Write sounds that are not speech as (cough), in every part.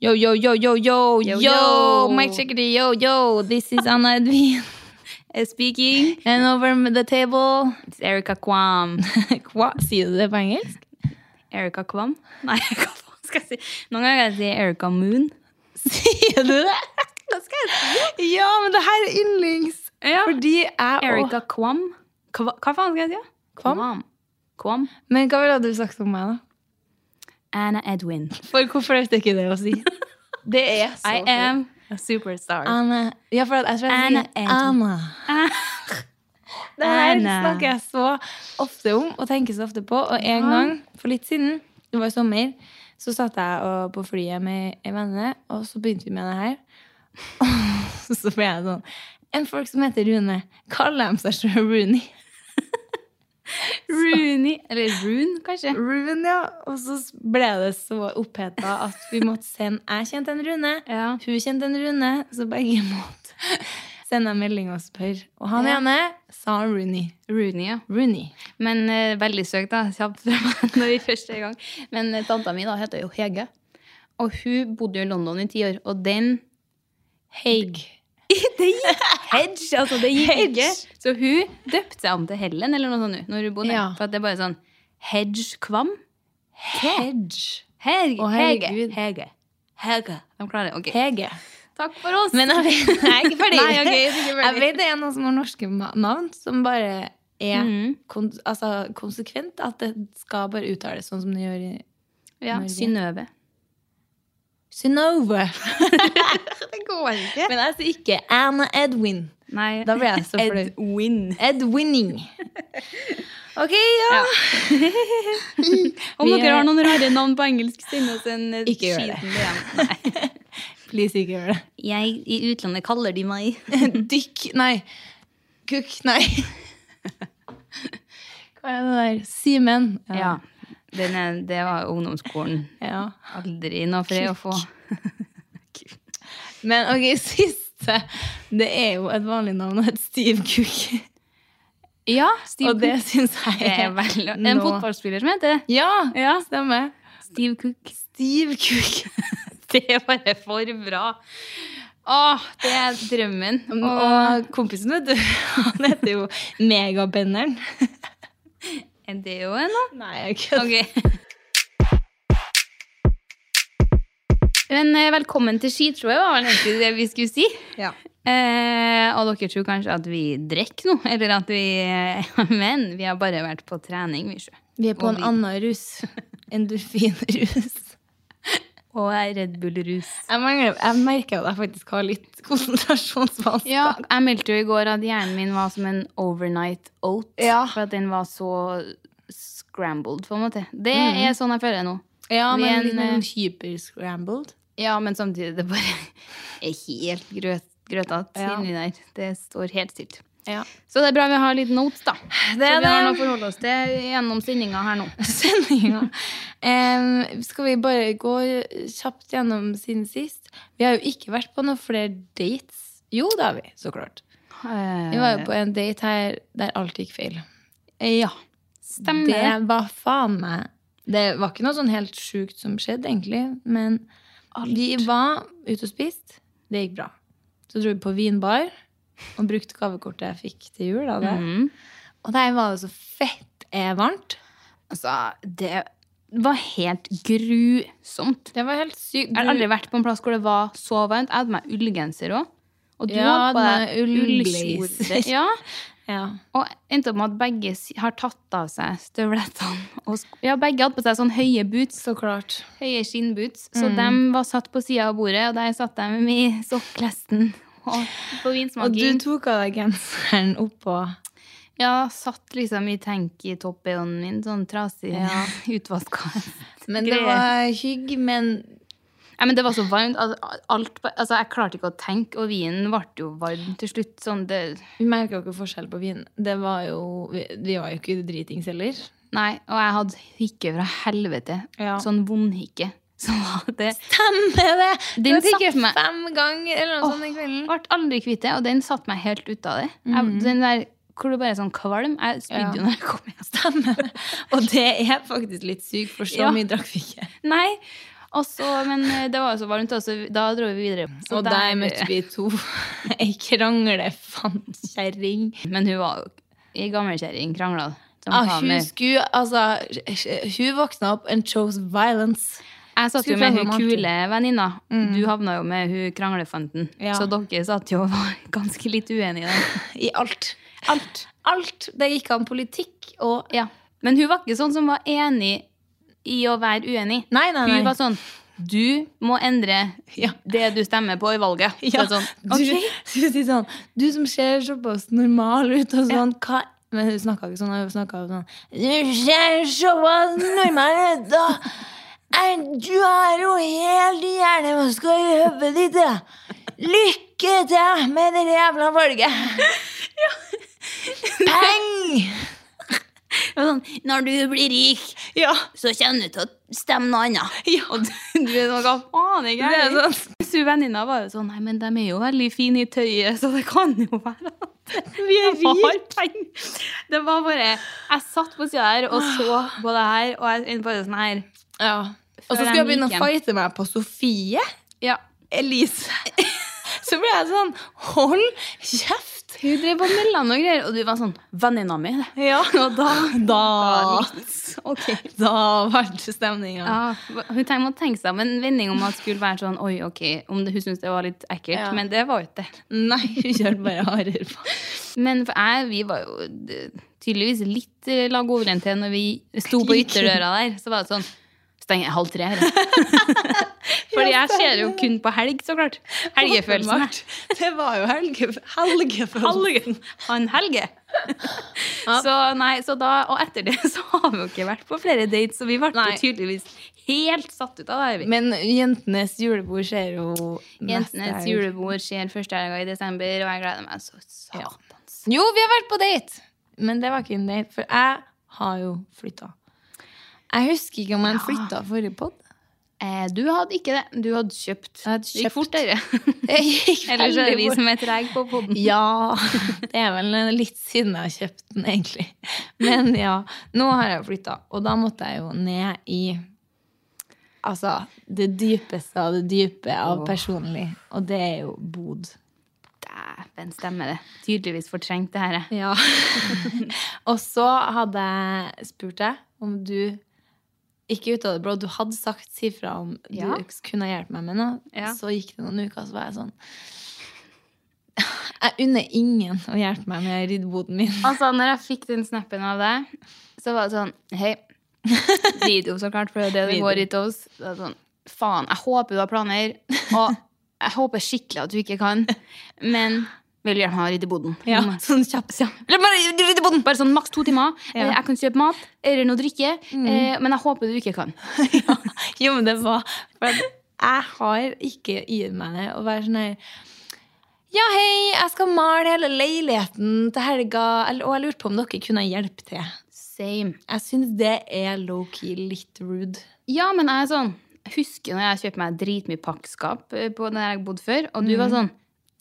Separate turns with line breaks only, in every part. Yo, yo, yo, yo, yo,
Yo,
yo,
yo.
Mike Chickadee, yo, yo. This is Anna Edwin (laughs) eh, speaking. And over the table, it's Erika Kwam. (laughs) Kwam? Sier du det på engelsk? Erika Kwam? (laughs) Nei, hva faen skal jeg si? Noen ganger kan jeg si Erika Moon. (laughs) Sier du det? Hva skal jeg si?
Ja, men det her er yndlings.
Ja.
Fordi jeg
Erika Kwam. Hva, hva faen skal jeg si?
Kwam?
Kwam.
Men hva ville du sagt om meg, da?
Anna Edwin.
For hvorfor er det ikke det å
(laughs)
si? Det er så
I am a superstar.
Anne. Ja, for at jeg tror jeg
Anne
sier
Ed-
Anne. (laughs) Det her
Anne.
snakker jeg så ofte om og tenker så ofte på. Og en gang for litt siden, det var i sommer, så satt jeg og, på flyet med en venninne, og så begynte vi med det her. (laughs) Og så ble jeg sånn En folk som heter Rune, kaller de seg selv Rooney?
Rooney. Eller Rune, kanskje.
Ruben, ja. Og så ble det så oppheta at vi måtte sende Jeg kjente en Rune,
Ja.
hun kjente en Rune, så begge (laughs) måtte sende en melding og spørre. Og han ene sa Rooney.
Rooney, ja.
Rooney.
Men eh, veldig søkt, da. Kjapt fra meg (laughs) når vi første gang. Men eh, tanta mi da heter jo Hege. Og hun bodde jo i London i ti år. Og den
(laughs)
Haig. det gikk hedge! Altså, det gikk ikke. Så hun døpte seg om til Helen eller noe sånt nå, når hun bodde
Ja.
For at det er bare sånn Hedge Kvam.
Hedge.
Hege.
Å,
Hege.
herregud.
Hege.
Hege.
De klarer det. Ok.
Hege.
Takk for oss.
Men jeg vet, jeg er ikke ferdig.
(laughs) Nei, ok, jeg er ikke ferdig.
Jeg vet det er noen som har norske ma- navn som bare er
Mhm.
kon altså, konsekvent. At det skal bare uttales sånn som det gjør i
ja,
Norge.
Synnøve.
Synnøve.
Det går ikke.
Men jeg sier ikke Anna Edwin.
Nei.
Da ble jeg så flau.
Edwin. (laughs)
Edwinning. Ok, ja.
Om
Vi
dere
er-
har noen rare navn på engelsk, send oss en (laughs) eh,
Ikke gjør det.
skiten DM. Nei.
Please, ikke gjør det.
Jeg i utlandet kaller de meg
(laughs) Dykk Nei. Kukk Nei. Hva er det der? Simen.
Ja. Den er, det var ungdomsskolen.
ja.
Aldri noe fred å få.
Men ok, (laughs) siste. Det er jo et vanlig navn og et Steve Cook.
Ja, Steve
Og det
Cook.
syns jeg
Det er vel, en
nå-
fotballspiller som heter det.
Ja,
Ja.
stemmer.
Steve Cook.
Steve Cook.
(laughs) Det er bare for bra. Åh, det er drømmen. Og
Og kompisen, vet du, (laughs) han heter jo Megabenderen.
er det jo en, da?
(laughs) Nei, jeg kødder.
Ok. Men eh, velkommen til ski, tror jeg var vel egentlig det vi skulle si.
Ja.
Eh, og dere tror kanskje at vi drikker nå, eller at vi eh, (laughs) Men vi har bare vært på trening, vi sjø.
Vi er på
Og
en
vi-
annen rus. Endorfinrus.
Og Red Bull-rus.
Jeg, mangler, jeg merker at jeg faktisk har litt konsentrasjonsvansker.
Ja, jeg meldte jo i går at hjernen min var som en overnight oat.
Ja.
For at den var så scrambled, på en måte. Det er sånn jeg føler nå.
Ja,
Vi er
men
en,
litt sånn hyperscrambled.
Ja, men (laughs) samtidig, det bare er helt grøt, grøtete inni der. Det står helt stilt.
Ja.
Så det er bra vi har litt notes, da.
Det
så
er
vi har
det.
noe å forholde oss til gjennom sendinga her nå.
(laughs) sendinga. Em, skal vi bare gå kjapt gjennom siden sist? Vi har jo ikke vært på noen flere dates. Jo, det har vi, så klart.
Eh,
Vi var jo på en date her der alt gikk feil. Ja.
Stemmer
Det
det.
var faen meg Det var ikke noe sånn helt sjukt som skjedde, egentlig. Men vi var ute og spiste. Det gikk bra. Så dro vi på vinbar og brukte gavekortet jeg fikk til jul. av det. Og der var det så fett eh, varmt.
Altså, det var helt grusomt.
Det var helt sykt.
Jeg har aldri vært på en plass hvor det var så varmt. Jeg hadde meg ullgenser òg. Og du
Ja,
hadde på
den
deg
ullblazer.
ullkjole. (laughs) Ja.
Ja.
Og endte opp med at begge si- har tatt av seg støvlettene. Og sko ja, begge hadde på seg sånn høye boots.
Så klart. Mm.
Høye skinnboots. Så de var satt på sida av bordet, og der satt de i sokklesten. (laughs) Og på
Og du
vinsmaking.
tok av deg genseren oppå.
Ja, satt liksom i tenk i toppøynen min, sånn trasig, (laughs) utvaska.
Men det var hygg, men
Nei, men det var så varmt. Altså, alt, bare- altså, jeg klarte ikke å tenke, og vinen ble jo varm til slutt. Sånn, det,
vi merka jo ikke forskjell på vinen. Det var jo, vi, vi var jo ikke dritings heller.
nei, og jeg hadde hikke fra helvete.
Ja.
Sånn vondhikke. (laughs) Så var det
Stemmer det!
Den
Den du
satt
fikk
meg-
fem ganger eller noe sånt sånn den kvelden. Mm.
Ble aldri kvitt det, og den satte meg helt ut av det. Jeg, Den der hvor du bare er sånn kvalm. Jeg spydde jo når jeg kom hjem.
Stemmer. (laughs) Og det er faktisk litt sykt, for så
Ja.
mye drakk vi ikke.
(laughs) Nei, og så- men eh, det var jo så varmt, og så da dro vi videre. Så
Og der møtte vi to (laughs) ei kranglefant-kjerring.
Men hun var jo ei gammelkjerring, krangla. som
Ah,
faen
hun
meg.
skulle Altså, hun våkna opp and chose violence.
Jeg satt jo
Skulle
med
prøve
hun
Martin. Mm.
kule venninna. Du havna jo med hun kranglefanten.
Ja.
Så dere satt jo og var (laughs) ganske litt uenige.
(laughs)
der.
I alt. Alt. Alt. Det gikk an politikk og
Ja. Men hun var ikke sånn som var enig i å være uenig.
Nei, nei, nei.
Hun var sånn Du må endre
Ja.
det du stemmer på i valget. Så
Ja,
sånn,
du,
ok.
(laughs) du sier sånn Du som ser såpass normal ut og sånn hva? Men hun snakka ikke sånn. Hun snakka jo sånn Du ser såpass normal ut og er- Du har jo helt hjernevask i hodet ditt. ja. Lykke til med det jævla valget! Peng!
Det var sånn, Når du blir rik,
Ja.
så kommer du til å stemme noe annet. Og du, du er sånn Hva faen er
Det
gærent?
er sånn
Hun venninna var jo sånn Nei, men de er jo veldig fine i tøyet, så det kan jo være at
Vi er
de har
rik.
penger. Det var bare Jeg satt på sida her og så på det her, og jeg er bare sånn her
Ja. Og så
Før
skulle jeg
de
begynne
gikk
å
hjem.
fighte meg på Sofie.
Ja.
Elise. (laughs) Så ble jeg sånn Hold kjeft!
Hun drev og melda noe greier, og du var sånn Venninna mi, det.
Ja, og da Da,
Ok.
da var det stemninga.
Ja, hun tenkte, måtte tenke seg om en vending om at skulle være sånn Oi, ok, om det, hun syntes det var litt ekkelt,
Ja.
men det var jo ikke det.
Nei, hun kjørte bare hardere på.
Men for jeg, vi var jo d- tydeligvis litt eh, lag overent til når vi sto på ytterdøra der. Så var det sånn Steng halv tre
(laughs)
her. Fordi jeg ser jo kun på helg, så klart. Helgefølelsen.
Åpenbart. Det var jo helge, helgefølelsen.
Helgen. Han Helge. Så nei, så da, Og etter det (laughs) så har vi jo ikke vært på flere dates, så vi ble jo
Nei.
tydeligvis helt satt ut av det. vi.
Men jentenes julebord skjer jo neste
Jentenes
helg.
julebord skjer første helga i desember, og jeg gleder meg så satans.
Jo, vi har vært på date! Men det var ikke en date, for jeg har jo flytta. Jeg husker ikke om jeg flytta forrige pod.
Eh, du hadde ikke det. Du hadde kjøpt.
Jeg hadde
Det gikk
kjøpt.
fortere. (laughs)
Det gikk
Ellers er det
veldig
vi
fort.
som er trege på (laughs) poden.
Ja. Det er vel litt siden jeg har kjøpt den, egentlig. Men ja, nå har jeg flytta, og da måtte jeg jo ned i Altså, det dypeste av det dype av personlig, og det er jo bod.
Dæven, stemmer det. Tydeligvis fortrengt, det her. jeg.
Ja. (laughs) og så hadde jeg spurt deg om du ikke ut av det blå, du hadde sagt si fra om
Ja.
du kunne hjelpe meg med noe.
Ja.
Så gikk det noen uker, så var jeg sånn (laughs) Jeg unner ingen å hjelpe meg med å rydde boden min.
Altså, når jeg fikk den snappen av deg, så var det sånn (laughs) Hei. Video, så klart, for det er det det
Video.
går i til oss. Det er sånn, Faen, jeg håper du har planer, og jeg håper skikkelig at du ikke kan, men vil du hjelpe meg å rydde boden?
Ja, sånn kjapt. La meg rydde boden!
Bare sånn maks to timer.
Ja.
Eh, Jeg kan kjøpe mat eller noe drikke, eh, men jeg håper du ikke kan.
(laughs) Ja. Jo, men det var for at Jeg har ikke i meg det å være sånn her Ja, hei, jeg skal male hele leiligheten til helga, eller- og jeg lurte på om dere kunne hjelpe til.
Same.
Jeg syns det er low-key litt rude.
Ja, men jeg er sånn jeg Husker når jeg kjøpte meg dritmye pakkskap eh, på den jeg bodde før, og du var sånn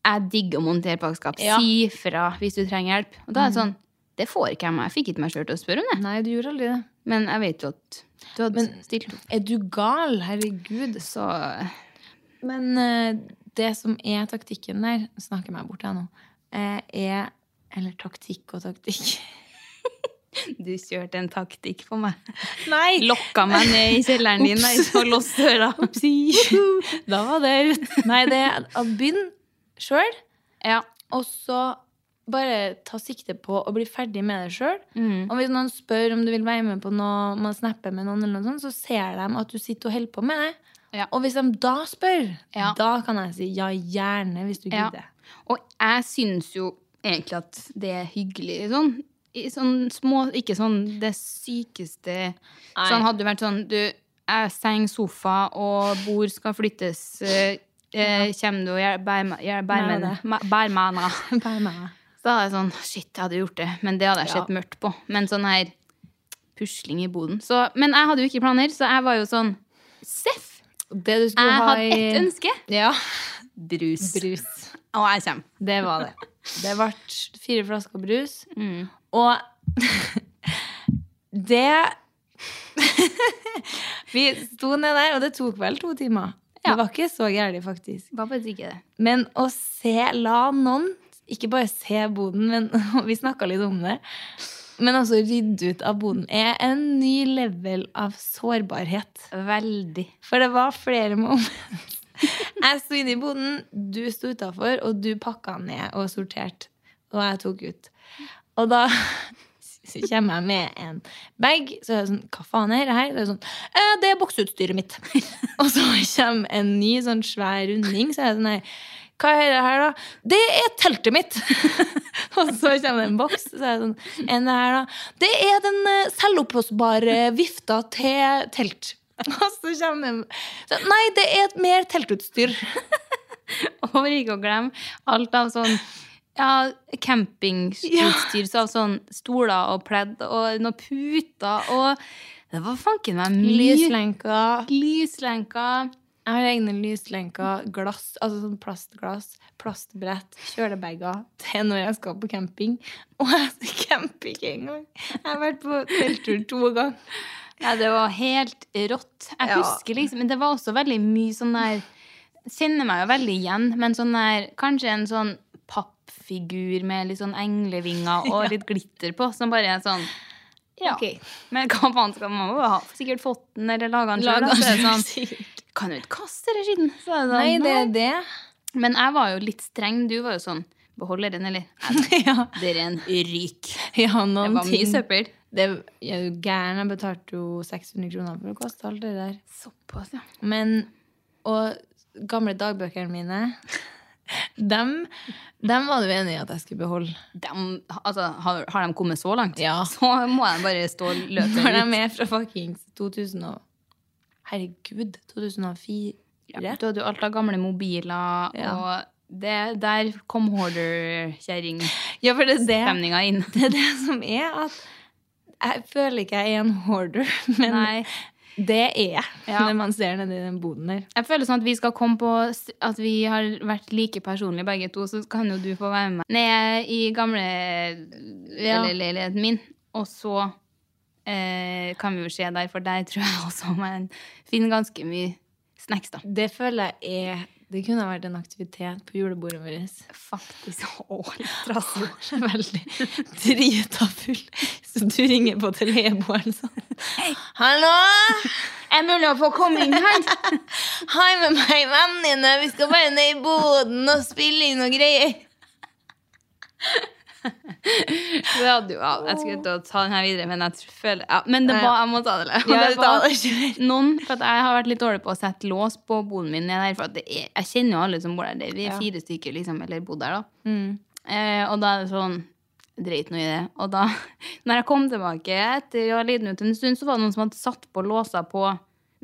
Jeg digger å montere pakkskap.
Ja.
Si fra hvis du trenger hjelp. Og da er det sånn Det får ikke jeg meg. Jeg fikk ikke meg sjøl til å spørre om det.
Nei, du gjorde aldri det.
Men jeg vet jo at du hadde
Men-
stilt opp.
Er du gal? Herregud.
Så eh,
Men eh, det som er taktikken der Snakker meg bort her nå. eh, er Eller taktikk og taktikk.
du kjørte en taktikk på meg.
(laughs) Nei!
Lokka meg ned i kjelleren din nei, og låste døra.
da var det ut. Nei, det er å begynne sjøl,
(laughs) Ja.
og så bare ta sikte på å bli ferdig med det sjøl.
Mm.
Og hvis noen spør om du vil være med på noe, man snapper med noen, eller noe sånt, så ser de at du sitter og holder på med det.
Ja.
Og hvis de da spør,
Ja.
da kan jeg si ja, gjerne, hvis du
Ja.
gidder.
Og jeg syns jo egentlig at det er hyggelig. Sånn, i sånn små Ikke sånn det sykeste Sånn hadde det vært sånn Du, jeg seng, sofa og bord skal flyttes. Eh, eh, Kjem du og hjelp- bær meg- hjelp- bær
Nei,
meg
det.
ma- bær meg ned?
Bare med.
(laughs) Så da er det sånn Shit, jeg hadde gjort det. Men det hadde jeg
Ja.
sett mørkt på. Men sånn her pusling i boden. Så, men jeg hadde jo ikke planer, så jeg var jo sånn Seff!
Det du skulle
Jeg
ha
hadde
i
ett ønske.
Ja.
Brus.
Brus.
Og jeg kommer.
Det var det. Mm. Det ble fire flasker brus. Og (laughs) det Vi sto ned der, og det tok vel to timer. Det var ikke så gærent, faktisk.
Bare for å drikke det.
Men å se La noen Ikke bare se boden, men (laughs) og vi snakka litt om det. Men også rydde ut av boden er en ny level av sårbarhet.
Veldig.
For det var flere moment. Jeg sto inne i boden, du sto utafor, og du pakka ned og sorterte. Og jeg tok ut. Og da kommer jeg med en bag, så er det sånn Hva faen er det her? Så er det sånn «Eh, Det er bokseutstyret mitt. (laughs) og så kommer en ny sånn svær runding, så er det sånn her Hva er det her, da? Det er teltet mitt! (laughs) og så kommer det en boks, så er det sånn En det her, da? Det er den eh, selvoppblåsbare vifta til telt. (laughs) Og så kommer den så, Nei, det er mer teltutstyr.
(laughs) Og ikke å glemme alt av sånn ja, campingutstyr. Så av sånn stoler og pledd og noen puter og Det var fanken meg mye
Lyslenker.
lyslenker.
Jeg har egne lyslenker, glass, altså sånn plastglass, plastbrett, kjølebager til når jeg skal på camping. Og jeg camper ikke engang. Jeg har vært på telttur to ganger.
Ja, det var helt rått. Jeg
Ja.
husker liksom Men det var også veldig mye sånn der Kjenner meg jo veldig igjen, men sånn der Kanskje en sånn pappfigur med litt sånn englevinger
(laughs)
og litt glitter på, som bare er sånn ja.
Ok.
Men hva faen skal man må jo ha? Sikkert fått den, eller laga den sjøl.
Laget
Så er det
den selv,
sånn, kan du ikke kaste den skitten? Så er det sånn,
Nei, det er det.
Men jeg var jo litt streng. Du var jo sånn Beholder den,
(laughs)
eller?
Ja,
Det er en ryk.
ja
Det
noen
var mye
ting.
søppel.
Det jeg er jo gæren. Jeg betalte jo 600 kroner for å kaste alt det der.
Såpass, ja.
Men Og gamle dagbøkene mine, (laughs) dem, dem var du enig i at jeg skulle beholde.
dem, altså, har, har de kommet så langt,
Ja.
så må de bare stå og løpe
Når de
ut.
er fra fuckings 2000 og Herregud, 2004?
Ja, Du hadde jo alt av gamle mobiler,
Ja.
og det, der kom hoarder-kjerring-stemninga
Ja, for det er det,
inn.
(laughs) det er det som er at Jeg føler ikke jeg er en hoarder, (laughs) men
Nei.
det er jeg
Ja.
(laughs) når man ser nedi den boden der.
Jeg føler sånn at vi skal komme på s- at vi har vært like personlige begge to, så kan jo du få være med ned i gamle eh,
Ja.
eller leiligheten min. Og så eh, kan vi jo se der, for der tror jeg (laughs) også man finner ganske mye snacks, da.
Det føler jeg er Det kunne ha vært en aktivitet på julebordet vårt.
Faktisk.
Trassord er veldig drita full. Så du ringer på til Lebo eller sånn. Hallo!
Er mulig å få komme inn her?
Hei med meg, venninne. Vi skal bare ned i boden og spille inn noe greier.
Det hadde jo, ja, jeg skulle til å ta den her videre, men jeg tr- føler ja, Men det
Ja, ja.
var, jeg må ta det. litt.
Ja,
(laughs) det
ta
var
det, kjør.
noen, for at jeg har vært litt dårlig på å sette lås på boden min. nede Der, for at det er, jeg kjenner jo alle som bor der. Det- Vi er fire stykker, liksom, eller bodde der, da.
Mm.
Eh, og da er det sånn Dreit nå i det. Og da (laughs) når jeg kom tilbake etter å ha lidd ut en stund, så var det noen som hadde satt på låser på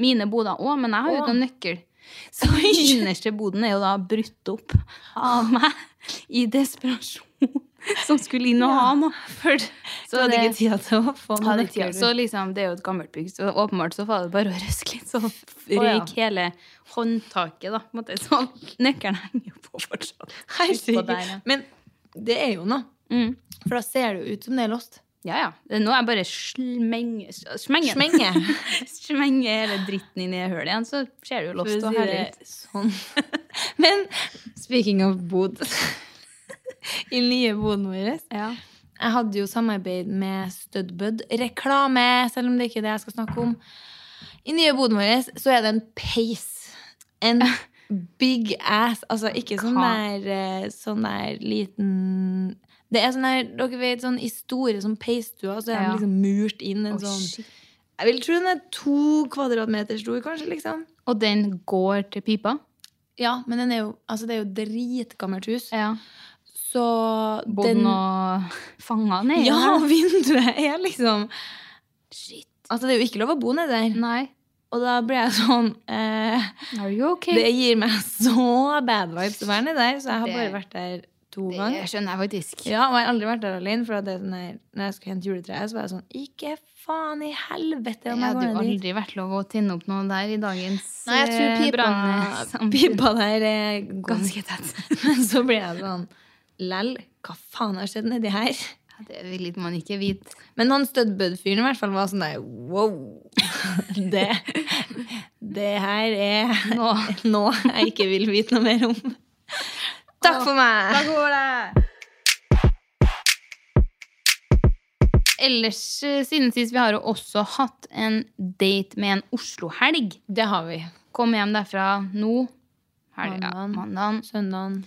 mine boder. Å, (laughs) men jeg har jo ikke noen nøkkel. Så innerste boden er jo da brutt opp av meg. i desperasjon (laughs) som skulle inn og ha noe.
Så hadde ikke tida til å få noen
Hadde ikke tida. Så liksom, det er jo et gammelt bygg, så åpenbart så var det bare å røske litt, så røyk
ja.
hele håndtaket, da. på en måte. Så nøkkelen henger jo på fortsatt. På
Herregud.
der, ja.
Men det er jo noe. For da ser det jo ut som det er lost.
Ja, ja. Det- Nå er jeg bare slenge Smenge.
Smenge.
(laughs) Smenge hele dritten inn i hullet igjen, så ser det jo lost
For å
og
si
herlig ut.
det sånn. Men speaking of bod (laughs) I den nye boden vår
(laughs) Ja.
Jeg hadde jo samarbeid med Studbud. Reklame, selv om det ikke er det jeg skal snakke om. I nye boden vår så er det en peis. (laughs) En big ass. Altså ikke sånn
Hva?
der, eh, sånn der liten Det er sånn der, dere vet, sånn i store sånn peisstuer, så er
Ja.
den liksom murt inn en
Å,
sånn
shit.
Jeg vil tro den er to kvadratmeter stor, kanskje, liksom.
Og den går til pipa?
Ja, men den er jo, altså det er jo dritgammelt hus.
Ja.
Så
Bodde den og fanga ned?
Ja, (laughs)
eller?
og vinduet er liksom Shit. Altså, det er jo ikke lov å bo nedi der.
Nei.
Og da ble jeg sånn eh,
Are you okay?
Det gir meg så bad vibes å være nedi der, så jeg har
Det-
bare vært der to
Det
ganger.
skjønner jeg faktisk.
Ja, og jeg har aldri vært der alene, for at det er sånn der, når jeg skulle hente juletreet, så var jeg sånn Ikke faen i helvete
Det
om jeg
hadde
går
jo
ned dit.
aldri vært lov å tenne opp noe der i dagens
Nei, jeg tror
eh,
pipa,
brannsamfunn.
pipa der er ganske
Ganske
(laughs)
tett.
Men så ble jeg sånn Lell, hva faen har skjedd nedi her?
Ja, det vil man ikke vite.
Men han Studbud-fyren i hvert fall var sånn der wow. (laughs) Det, det her er (laughs)
Nå.
noe jeg ikke vil vite noe mer om. Takk for meg!
Ellers, eh, siden sist, vi har jo også hatt en date med en Oslo-helg.
Det har vi.
Kom hjem derfra nå. Helg, ja,
Mandagen.
mandagen.
Søndagen.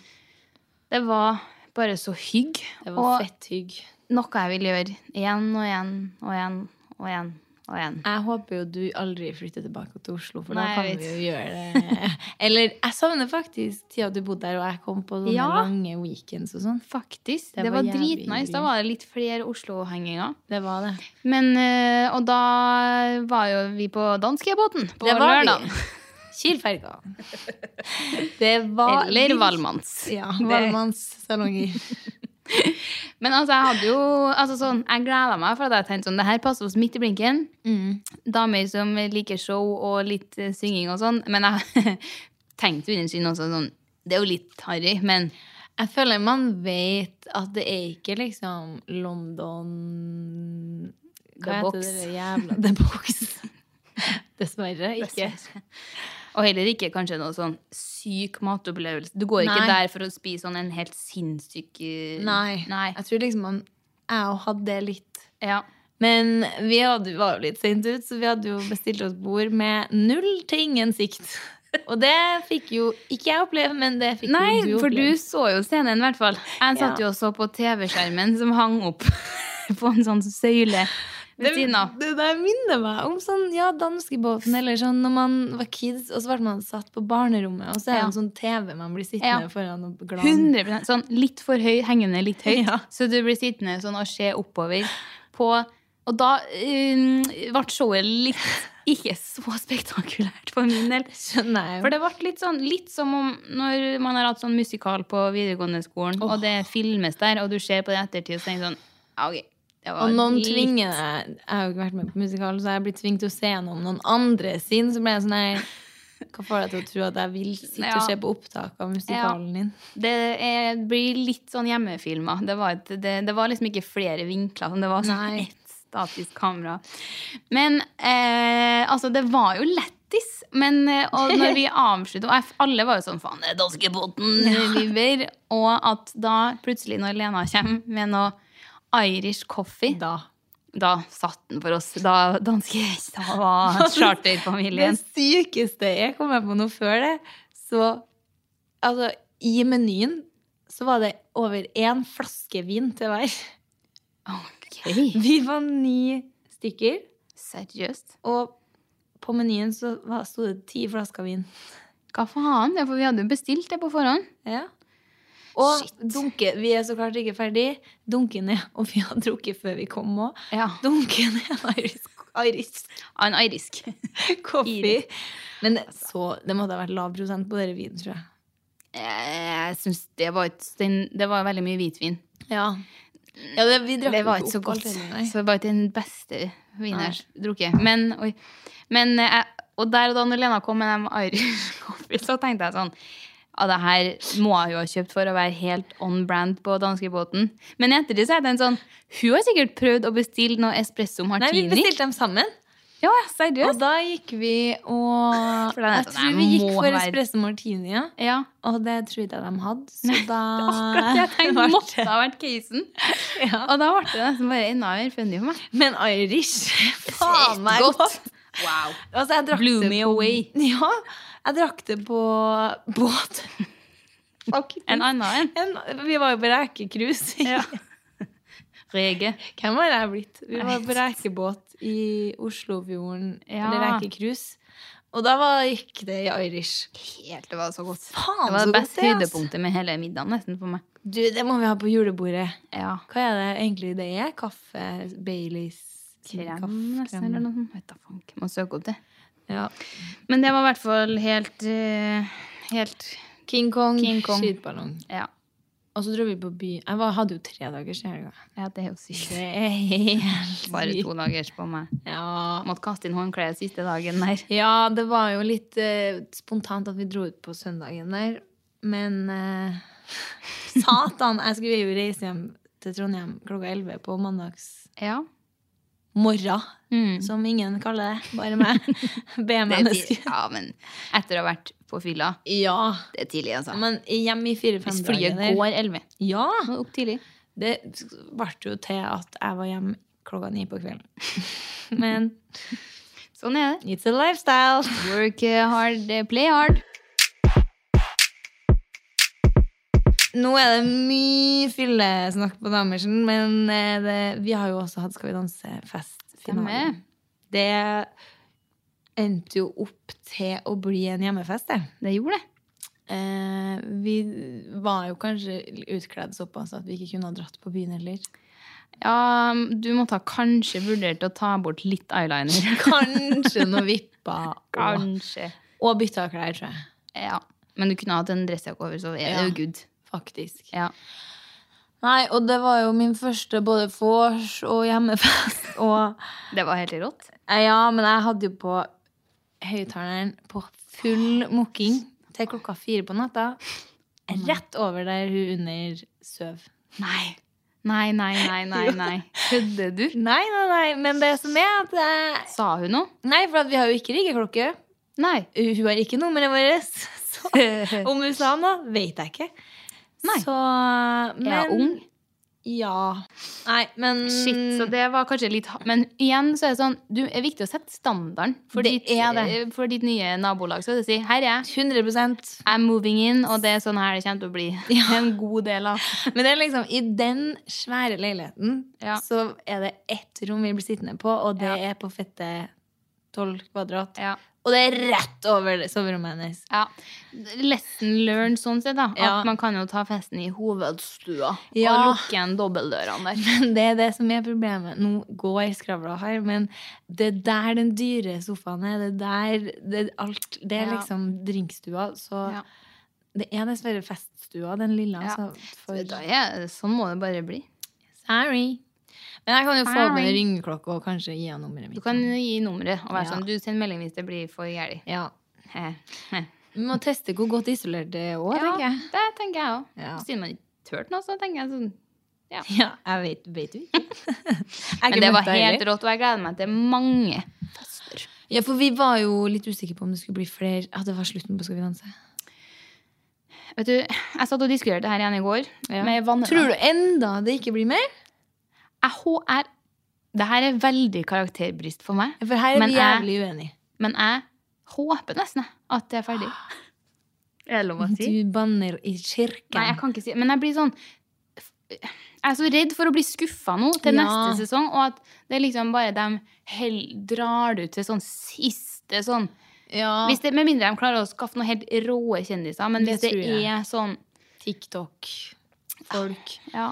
Det var bare så hygg.
Det var
Og
fett hygg.
noe jeg vil gjøre igjen og igjen og igjen og igjen. Og igjen.
Jeg håper jo du aldri flytter tilbake til Oslo, for
Nei,
da
jeg
kan vi jo gjøre det. Eller jeg savner faktisk tida du bodde der, og jeg kom på sånne
Ja.
lange weekends og sånn.
Faktisk.
Det
Det,
var
var,
jævlig
dritnice. Da
hyggelig.
var det litt flere Oslo-henginger.
Det var det.
Men, eh, Og da var jo vi på danskebåten på
Det var vi.
lørdag.
(laughs) Kielferga.
(laughs)
Det var
Eller Valmanns.
Ja, Valmannssalonger.
Men altså, jeg hadde jo altså, sånn, Jeg gleda meg, for at jeg tenkte sånn Det her passer oss midt i blinken.
Mm.
Damer som liker show og litt eh, synging og sånn. Men jeg (laughs) tenkte under synd også sånn Det er jo litt harry, men
Jeg føler man vet at det er ikke liksom London
The
Hva heter
Box.
det jævla (laughs) The Box? Dessverre ikke.
Og heller ikke kanskje noe sånn syk matopplevelse. Du går ikke
Nei.
der for å spise sånn en helt sinnssyk eh,
Nei.
Nei.
Jeg tror liksom man Jeg òg hadde det litt.
Ja.
Men vi hadde, var jo litt sent ut, så vi hadde jo bestilt oss bord med null til ingen sikt. Og det fikk jo ikke jeg oppleve, men det fikk
Nei,
jo du
for du
oppleve.
så jo scenen, i hvert fall. Jeg satt jo og så på TV-skjermen som hang opp (laughs) på en sånn søyle
det,
ved siden av.
det der minner meg om sånn, ja, danskebåten, eller sånn når man var kids, og så ble man satt på barnerommet, og så er det
Ja.
en sånn TV man blir sittende
Ja.
foran og glad.
100 Sånn litt for høy, hengende litt høyt.
Ja.
Så du blir sittende sånn og se oppover på Og da um, ble showet litt ikke så spektakulært for min del.
Skjønner jeg jo.
For det ble litt sånn litt som om når man har hatt sånn musikal på videregående skolen, og det filmes der, og du ser på det i ettertid og så tenker du sånn ja, ok, det var
Og noen
litt-
tvinger deg, jeg har jo ikke vært med på musikal, så jeg blir tvunget til å se gjennom noen andre sin, så ble jeg sånn her, hva får deg til å tro at jeg vil sitte
Ja.
og se på opptak av musikalen din?
Det er, blir litt sånn hjemmefilma. Det, var et- det, det var liksom ikke flere vinkler. Det var sånn
Nei.
ett statisk kamera. Men eh, altså, det var jo lættis. Men eh, og når (laughs) vi avslutta Og jeg- alle var jo sånn faen, det er danskebåten lyver. Og at da plutselig, når Lena kommer med noe Irish coffee Da, satt den for oss. Da danske (laughs) Da var charterfamilien.
Det sykeste jeg kom med på noe før det, så Altså, i menyen så var det over én flaske vin til hver.
Ok,
Vi var ni stykker,
Seriøst?
og på menyen så var- sto det ti flasker vin.
Hva faen? Ja, for vi hadde jo bestilt det på forhånd.
Ja. Og
Shit.
dunke Vi er så klart ikke ferdig. Dunke ned. Og vi har drukket før vi kom òg.
Ja.
Dunke ned (laughs) irisk, irisk
En irisk.
(laughs) coffee.
Irisk.
Men det, så, det måtte ha vært lav prosent på dere vinen, tror jeg.
Eh, Jeg syns det var et den- Det var veldig mye hvitvin.
Ja. ja det, vi drakk
Det var
jo
ikke så
opp alt
godt.
det, nei.
Så det var ikke den beste vinen jeg har drukket. Men, oi. men eh, jeg, Og der og da når Lena kom med dem Irish (laughs) coffee, så tenkte jeg sånn ja, det her må jeg jo ha kjøpt for å være helt on brand på danskebåten. Men etter det så er den sånn Hun har sikkert prøvd å bestille noe espresso
Nei, vi
martini.
bestilte dem sammen.
ja, seriøst.
Og da gikk vi og
For den er
Jeg
sånn,
tror
"Nei,
vi gikk
må
for
være-
espresso martini, ja.
ja.
Og det tror jeg de hadde. Så da
Akkurat det jeg tenkte
Var
måtte ha vært casen. (laughs)
(laughs)
Og da ble det nesten bare enda mer funny (laughs) for meg.
Men Irish (laughs) Faen meg
Godt.
godt.
Wow.
Altså, jeg drakk
Blew
det
me
på,
away.
Ja, jeg drakk det på båt.
En annen en.
En, vi var jo på rekecruise.
Rege.
Hvem har jeg blitt? Vi
Jeg
var
vet
på rekebåt i Oslofjorden.
Ja.
Eller rekecruise. Og da var, gikk det i Irish.
Helt, det var så godt.
Faen,
det
så
var det
godt
beste
det, ass.
høydepunktet med hele middagen nesten for meg.
Du, det må vi ha på julebordet.
Ja.
Hva er det egentlig det er? Kaffe? Baileys?
Krem,
kaffe-
nesten, eller noe sånt. Vet da fanken. Må søke opp det.
Ja.
Men det var i hvert fall helt eh, Helt
King Kong,
King Kong.
skytballong.
Ja.
Og så dro vi på by. Jeg var, hadde jo tre dagers i helga.
ja det er jo sykt.
Det er helt
(laughs) Bare
sykt.
to dagers på meg.
Ja.
Måtte kaste inn håndkleet siste dagen der.
Ja, det var jo litt eh, spontant at vi dro ut på søndagen der. Men eh, (laughs) satan, jeg skulle jo reise hjem til Trondheim klokka 11 på mandags
Ja.
morgen.
Mm.
Som ingen kaller det, bare
(laughs)
meg.
Det er tid-
B-menneske.
ja, men etter å ha vært på fylla
Ja,
Det er tidlig, altså.
men hjemme i
Hvis
fire-fem
flyet
dager der.
går 11.
Ja,
Må opp tidlig.
det ble jo til at jeg var hjemme klokka ni på kvelden. (laughs) Men
Sånn er det.
it's a lifestyle.
Work eh, hard, eh, play hard.
Nå er det mye fyllesnakk på Damersen, men eh, det, vi har jo også hatt Skal vi danse-fest-finale.
Stemmer.
Det endte jo opp til å bli en hjemmefest, det.
Det gjorde det.
Eh, vi var jo kanskje utkledd såpass at vi ikke kunne ha dratt på byen heller.
Ja, du måtte ha kanskje vurdert å ta bort litt eyeliner.
(laughs)
(laughs)
Kanskje noe vippa og,
Kanskje.
og bytta klær, tror jeg.
Ja. Men du kunne hatt en dressjakke over, så er det jo
Ja.
good.
Faktisk.
Ja.
Nei, og det var jo min første både vors og hjemmefest og
Det var helt rått.
Eh, Ja, men jeg hadde jo på høyttaleren på full mokking Mm. til klokka fire på natta. Rett over der hun under søv.
Nei. Nei, nei, nei,
(laughs)
nei. nei. Kødder du?
Nei, nei, nei, men det som er at jeg...
Sa hun noe?
Nei, for at vi har jo ikke riggeklokke.
Nei.
Hun har ikke nummeret vårt. (laughs) Så (laughs) om hun sa noe, vet jeg ikke.
Nei.
Så men, mm.
Er jeg ung?
Ja. Nei, men
Shit, så det var kanskje litt ha- Men igjen så er det sånn, du er viktig å sette standarden for,
Det
ditt,
er det.
eh, for ditt nye nabolag. Så det si, her er jeg.
100
I'm moving in, og det er sånn her det kommer til å bli. (laughs) En god del av.
Men det er liksom, i den svære leiligheten
Ja.
så er det ett rom vi blir sittende på, og det er på fette 12 kvadrat.
Ja.
Og det er rett over soverommet hennes. (laughs)
Ja. Lesson learned sånn sett, da.
Ja.
At man kan jo ta festen i hovedstua og
Ja.
lukke igjen dobbeldørene
(laughs)
der.
Men det er det som er problemet. Nå går skravla her, men det er der den dyre sofaen er. Det er der det, er alt, det er
Ja.
liksom drinkstua. Så
Ja.
det er dessverre feststua, den lille.
Ja.
Altså, for,
Så da er- Sånn må det bare bli.
Sorry. Men jeg kan jo få opp en
Sorry.
ringeklokka og kanskje gi henne nummeret mitt.
Du kan gi nummeret og være
Ja.
sånn Du send melding hvis det blir for gærent.
ja.
Ja,
(laughs) Vi må teste hvor godt isolert det er òg, tenker jeg.
det tenker jeg òg.
Ja.
Siden man ikke turte noe, så tenker jeg sånn
Ja, jeg vet, vet (laughs) du ikke.
(laughs) Men det var helt rått, og jeg gleder meg til mange fester.
Ja, for vi var jo litt usikre på om det skulle bli flere At det var slutten på Skal vi danse.
Vet du, Jeg satt og diskuterte det her igjen i går med
Tror
venner.
du enda det ikke blir mer?
HR Det her er veldig karakterbrist for meg,
For her er
Men
vi
jeg-
jævlig uenige.
men jeg håper nesten jeg, at det er ferdig.
(gasps)
Er det lov å si?
Du banner i kirken.
Nei, jeg kan ikke si Men jeg blir sånn Jeg er så redd for å bli skuffa nå til
Ja.
neste sesong, og at det er liksom bare de hell, drar det ut til sånn siste sånn
ja.
hvis det, Med mindre de klarer å skaffe noen helt råe kjendiser, men
Det
hvis det,
tror jeg.
er sånn
TikTok. Folk.
Ja,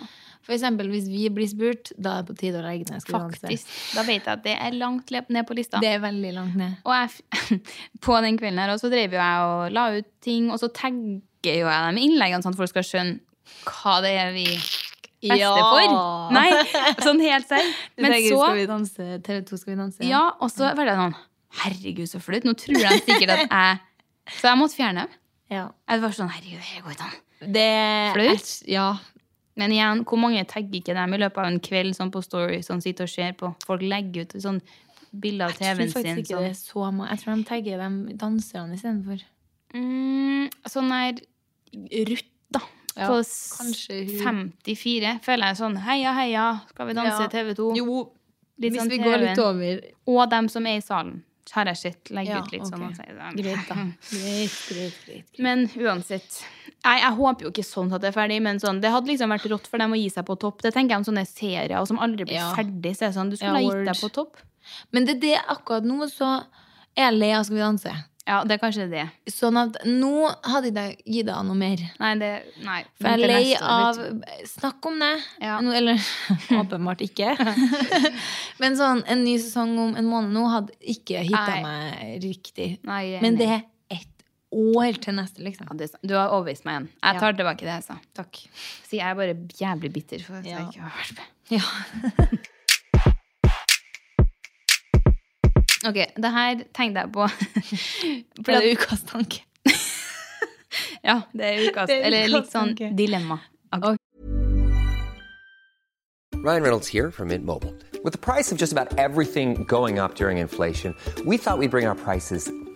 For eksempel, hvis vi blir spurt, da er det på tide å legge ned Skal vi danse.
faktisk. Da vet jeg at det er langt le- ned på lista.
Det er veldig langt ned.
(laughs) Og jeg, f- på den kvelden her også drev jo jeg og la ut ting, og så tagg- sjekker jo jeg de innleggene, sånn at folk skal skjønne hva det er vi fester
Ja.
for. Nei, sånn helt selv. (laughs) Men så
vi danse? TV 2 skal vi danse?
Ja, og så var det sånn Herregud, så flaut. Nå tror de sikkert at jeg (laughs) Så jeg måtte fjerne dem.
Ja.
Jeg var sånn, herregud, det går ikke an.
Det
Flaut?
Jeg- Ja.
Men igjen, hvor mange tagger ikke dem i løpet av en kveld sånn på Story som sitter og ser på? Folk legger ut sånn bilder av
Jeg tror
TV-en
faktisk
sin.
ikke det
Sånn.
er så mange. Jeg tror de tagger de danserne istedenfor.
Mm, sånn der Ruth, da.
Ja,
på
kanskje hun-
54 føler jeg sånn Heia, heia, skal vi danse
Ja.
TV 2?
Jo,
Litt
hvis
sånn
vi går litt
TV-en.
over
Og dem som er i salen, har jeg sett legge
Ja,
ut litt sånn.
ok.
Og så er det sånn.
Greit, da. Greit, greit, greit.
(laughs) Men uansett. Jeg, jeg håper jo ikke sånn at det er ferdig, men sånn, det hadde liksom vært rått for dem å gi seg på topp. Det tenker jeg om sånne serier som aldri blir
Ja.
ferdig. Så er det sånn, du
(laughs) Ja,
skulle ha
word.
gitt deg på topp.
Men det er det akkurat nå, så er jeg lei av Skal vi danse.
Ja, det er kanskje det.
Sånn at nå hadde jeg gitt deg noe mer.
Nei, det, nei.
For jeg er
til
lei
neste år,
av
vet du.
Snakk om det.
Ja.
Nå- eller (laughs) åpenbart ikke. (laughs) Men sånn, en ny sesong om en måned nå hadde ikke hitta
Nei.
meg riktig.
Nei, jeg er
Men
enig.
det er ett år til neste,
ja,
liksom.
det, er sant. Du har overbevist meg igjen. Jeg tar tilbake det jeg sa.
Takk.
Så jeg er bare jævlig bitter for at
Ja.
jeg ikke har vært med.
Ja.
Ok, det her tenkte jeg på.
(laughs) For det er ukas tanke.
ja, det er ukas,
Det er
eller
ukas
litt sånn
tanke.
dilemma.
Ryan Reynolds here from Mint Mobile. With the price of just about everything going up during inflation, we thought we'd bring our prices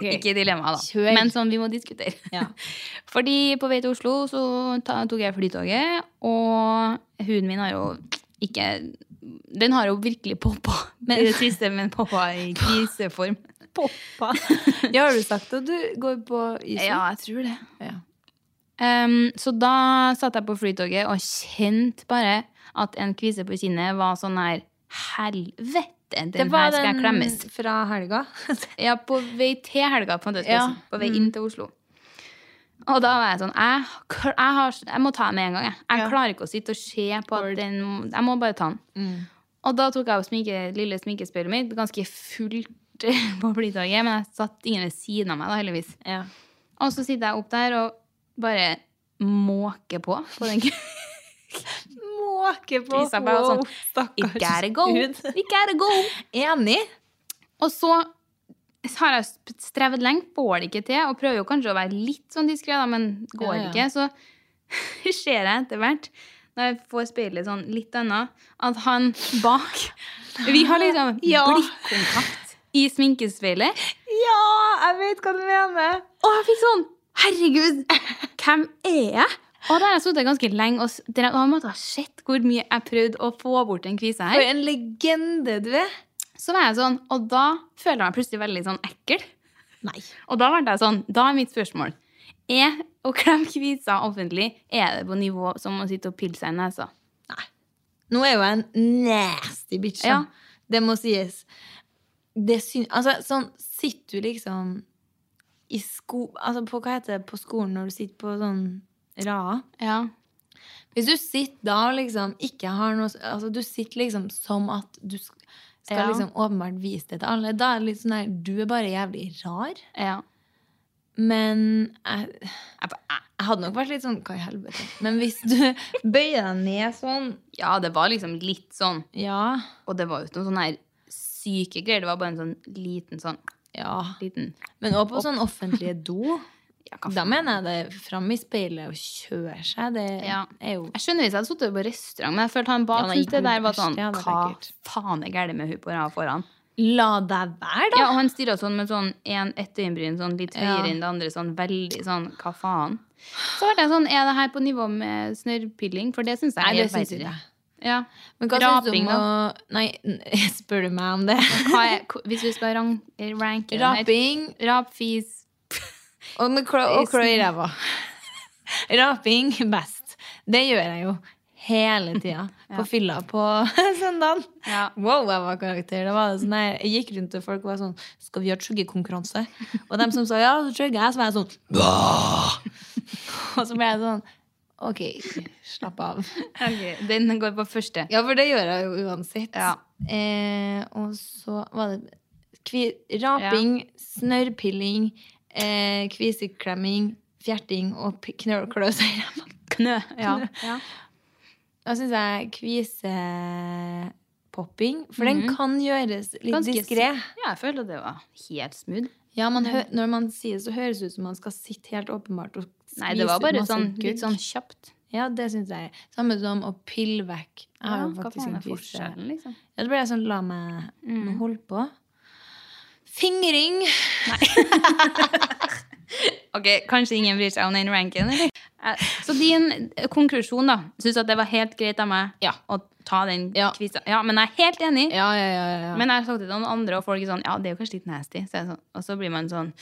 Ikke dilemma, da.
Kjør.
Men sånn, vi må diskutere.
Ja.
(laughs) Fordi på vei til Oslo så ta, tok jeg flytoget, og huden min har jo ikke Den har jo virkelig poppa i (laughs) det siste, men poppa (laughs) i kriseform.
(laughs) Poppa. Ja, har du sagt at du går på isen?
Ja, jeg tror det.
Ja.
Ehm, så da satt jeg på flytoget og kjente bare at en kvise på kinnet var sånn her Helvete! Den
Det var
her skal jeg
den
klemmes.
fra helga.
Ja, på vei til helga, på en måte.
Ja. Mm.
På vei inn til Oslo. Og da var jeg sånn Jeg, kl- jeg, har, jeg må ta den med en gang. Jeg, jeg klarer ikke å sitte og se på at den Jeg må bare ta den.
Mm.
Og da tok jeg opp sminke, lille sminkespeilet mitt, ganske fullt (laughs) på flytoget, men jeg satt ingen ved siden av meg, da, heldigvis.
Ja.
Og så sitter jeg opp der og bare måker på på den (laughs)
Måke på.
krisa. Bare sånn
stakkars
We gotta go! (laughs)
Gud.
We gotta go!
Enig.
Og så har jeg sp- strevd lenge, får det ikke til, og prøver jo kanskje å være litt sånn diskré, da, men går
Ja, ja.
ikke. Så (laughs) ser jeg etter hvert, når jeg får speilet sånn litt annet, at han
(laughs)
bak Vi har liksom
Ja.
blikkontakt i sminkespeilet.
Ja, jeg vet hva du mener.
Og jeg fikk sånn (laughs) Herregud, hvem er jeg? Og da har jeg sittet ganske lenge og s- dere har måttet ha sett hvor mye jeg prøvde å få bort den kvisa her.
For en legende du er.
Så var jeg sånn, og da føler jeg meg plutselig veldig sånn ekkel.
Nei.
Og da ble jeg sånn, da er mitt spørsmål Er å klemme kviser offentlig Er det på nivå som å sitte og pille seg i nesa?
Nå er jo jeg en nasty bitch. da.
Ja.
Det må sies. Det syn altså, sånn, sitter du liksom i sko... Altså, på, hva heter det på skolen når du sitter på sånn rad?
Ja.
Hvis du sitter da og liksom ikke har noe Altså, du sitter liksom som at du sk- skal
Ja.
liksom åpenbart vise det til alle. Da er det litt sånn der Du er bare jævlig rar.
ja.
Men jeg, jeg, jeg hadde nok vært litt sånn Hva i helvete? Men hvis
(laughs)
du bøyer deg ned sånn
Ja, det var liksom litt sånn.
Ja.
Og det var jo ikke noen sånne her syke greier. Det var bare en sånn liten sånn
ja.
liten
Men også på sånn offentlige do.
(laughs) Ja, hva
Da mener jeg det fram i speilet og kjøre seg. Det
Ja.
er jo
Jeg skjønner hvis jeg hadde sittet på restaurant, men jeg følte han bak
Ja, nei,
syntes det der var
gud,
sånn
det hadde
Hva
vært
faen er galt med hun på rad foran?
La deg være, da!
Ja, og han stirra sånn med sånn en ett øyenbryn sånn litt
Ja.
høyere enn det andre, sånn veldig sånn Hva faen? Så ble jeg sånn Er det her på nivå med snørrpilling? For det syns jeg
Nei,
er
det syns ikke
verre.
jeg.
Ja.
Men hva syns du
Raping,
om å
da?
Nei, n- (laughs) spør du meg om
(laughs)
det?
Hva er, hva- hvis vi skal rank, ranke den her-
Raping
Rap, fis
og med klø, og klø i ræva. (laughs) Raping best. Det gjør jeg jo hele tida.
(laughs)
På fylla på (laughs) søndagen.
Ja.
Wow, jeg var karakter. Det var sånn der, jeg gikk rundt til folk og var sånn Skal vi ha juggekonkurranse? Og dem som sa ja, så jugger jeg, så var jeg sånn (laughs) Og så ble jeg sånn OK, slapp
(laughs)
av.
Den går på første.
Ja, for det gjør jeg jo uansett.
Ja.
Eh, og så var det kvi, raping, snørrpilling, eh, kviseklemming, fjerting og p- knø- klø seg i ræva.
Knø. Ja.
Da syns jeg kvisepopping For den kan gjøres litt
Mhm. Ganske
diskré.
Ja, jeg føler det var helt smooth.
Ja, man hø når man sier det, så høres det ut som man skal sitte helt åpenbart og skvise
Nei, det var
ut
bare
masse
sånn,
gugg.
litt sånn kjapt.
Ja, det syns jeg. Samme som å pille vekk. Jeg har jo
hva
faktisk
faen
en
er Mm.
kvise.
forskjellen, liksom?
Ja, det ble jeg sånn, la meg nå holde på. Fingring!
Ok, Kanskje ingen bryr seg om den ranken? eller? Eh, Så din eh, konklusjon, da. Syns at det var helt greit av meg
Ja.
å ta den
Ja.
kvisa? Ja, men jeg er helt enig.
Ja, ja, ja. ja. Men,
Men jeg har sagt det til noen andre, og folk er sånn Ja, det er jo kanskje litt nasty. Så jeg er sånn, og så blir man sånn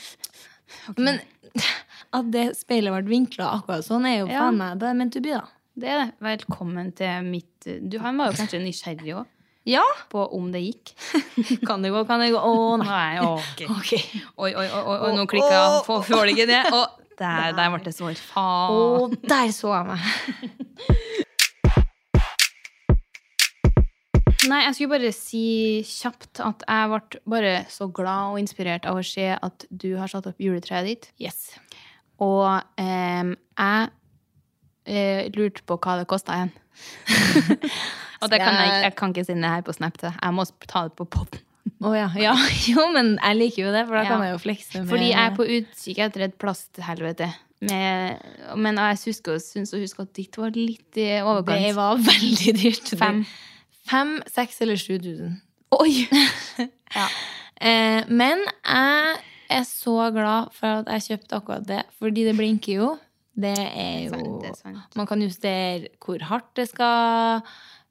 men (laughs) at det speilet ble vinkla akkurat sånn, er jo
Ja.
faen meg det er meant to be, da.
Det er det. Velkommen til mitt Du, han var jo kanskje nysgjerrig òg,
Ja!
på om det
(laughs)
gikk.
Kan det gå, kan det gå? Å, nei.
Nei, ok.
(laughs) Ok.
Oi, oi, oi, oi, oi nå
Å,
klikka
å,
Får får det ikke det? Og der, der ble det sår.
Å,
Faen.
der så jeg meg.
Nei, jeg skulle bare si kjapt at jeg ble bare så glad og inspirert av å se at du har satt opp juletreet ditt.
Yes.
Og em, jeg eh, lurte på hva det kosta igjen. (laughs) og det kan jeg, ikke- jeg kan ikke sende det her på Snap til deg. Jeg må ta det på potten.
Å ja. ja. (laughs) Jo, men jeg liker jo det, for da
Ja.
kan jeg jo flekse med
Fordi jeg er på utkikk etter et plasthelvete. Med, men jeg husker, syns å huske at ditt var litt i
(laughs)
overkant.
Det var veldig dyrt.
Fem.
Fem, seks eller sju tusen. (laughs)
Oi!
Eh, men jeg er så glad for at jeg kjøpte akkurat det, fordi det blinker jo. Det er
Det er sant,
jo
det er sant.
Man kan justere hvor hardt det skal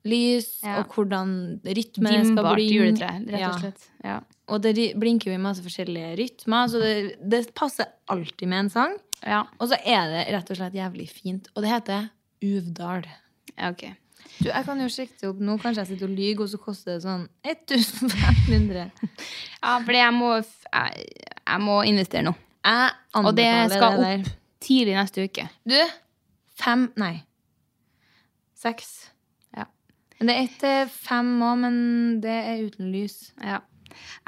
lys,
Ja.
og hvordan rytmen det skal
Dimbart
bli.
juletre, rett
Ja.
og slett. Ja.
Og det ri- blinker jo i masse forskjellige rytmer, så det, det passer alltid med en sang.
ja.
Og så er det rett og slett jævlig fint. Og det heter Uvdal.
Ja, ok.
Du, jeg kan jo sjekke det opp nå. Kanskje jeg sitter og lyver, og så koster det sånn (laughs) 1500.
Ja, fordi jeg må, f- jeg, jeg må investere nå.
Jeg anbefaler
Og det skal
der.
opp tidlig neste uke.
Du, fem Nei. Seks.
Ja.
Men det er ett til fem òg, men det er uten lys.
Ja.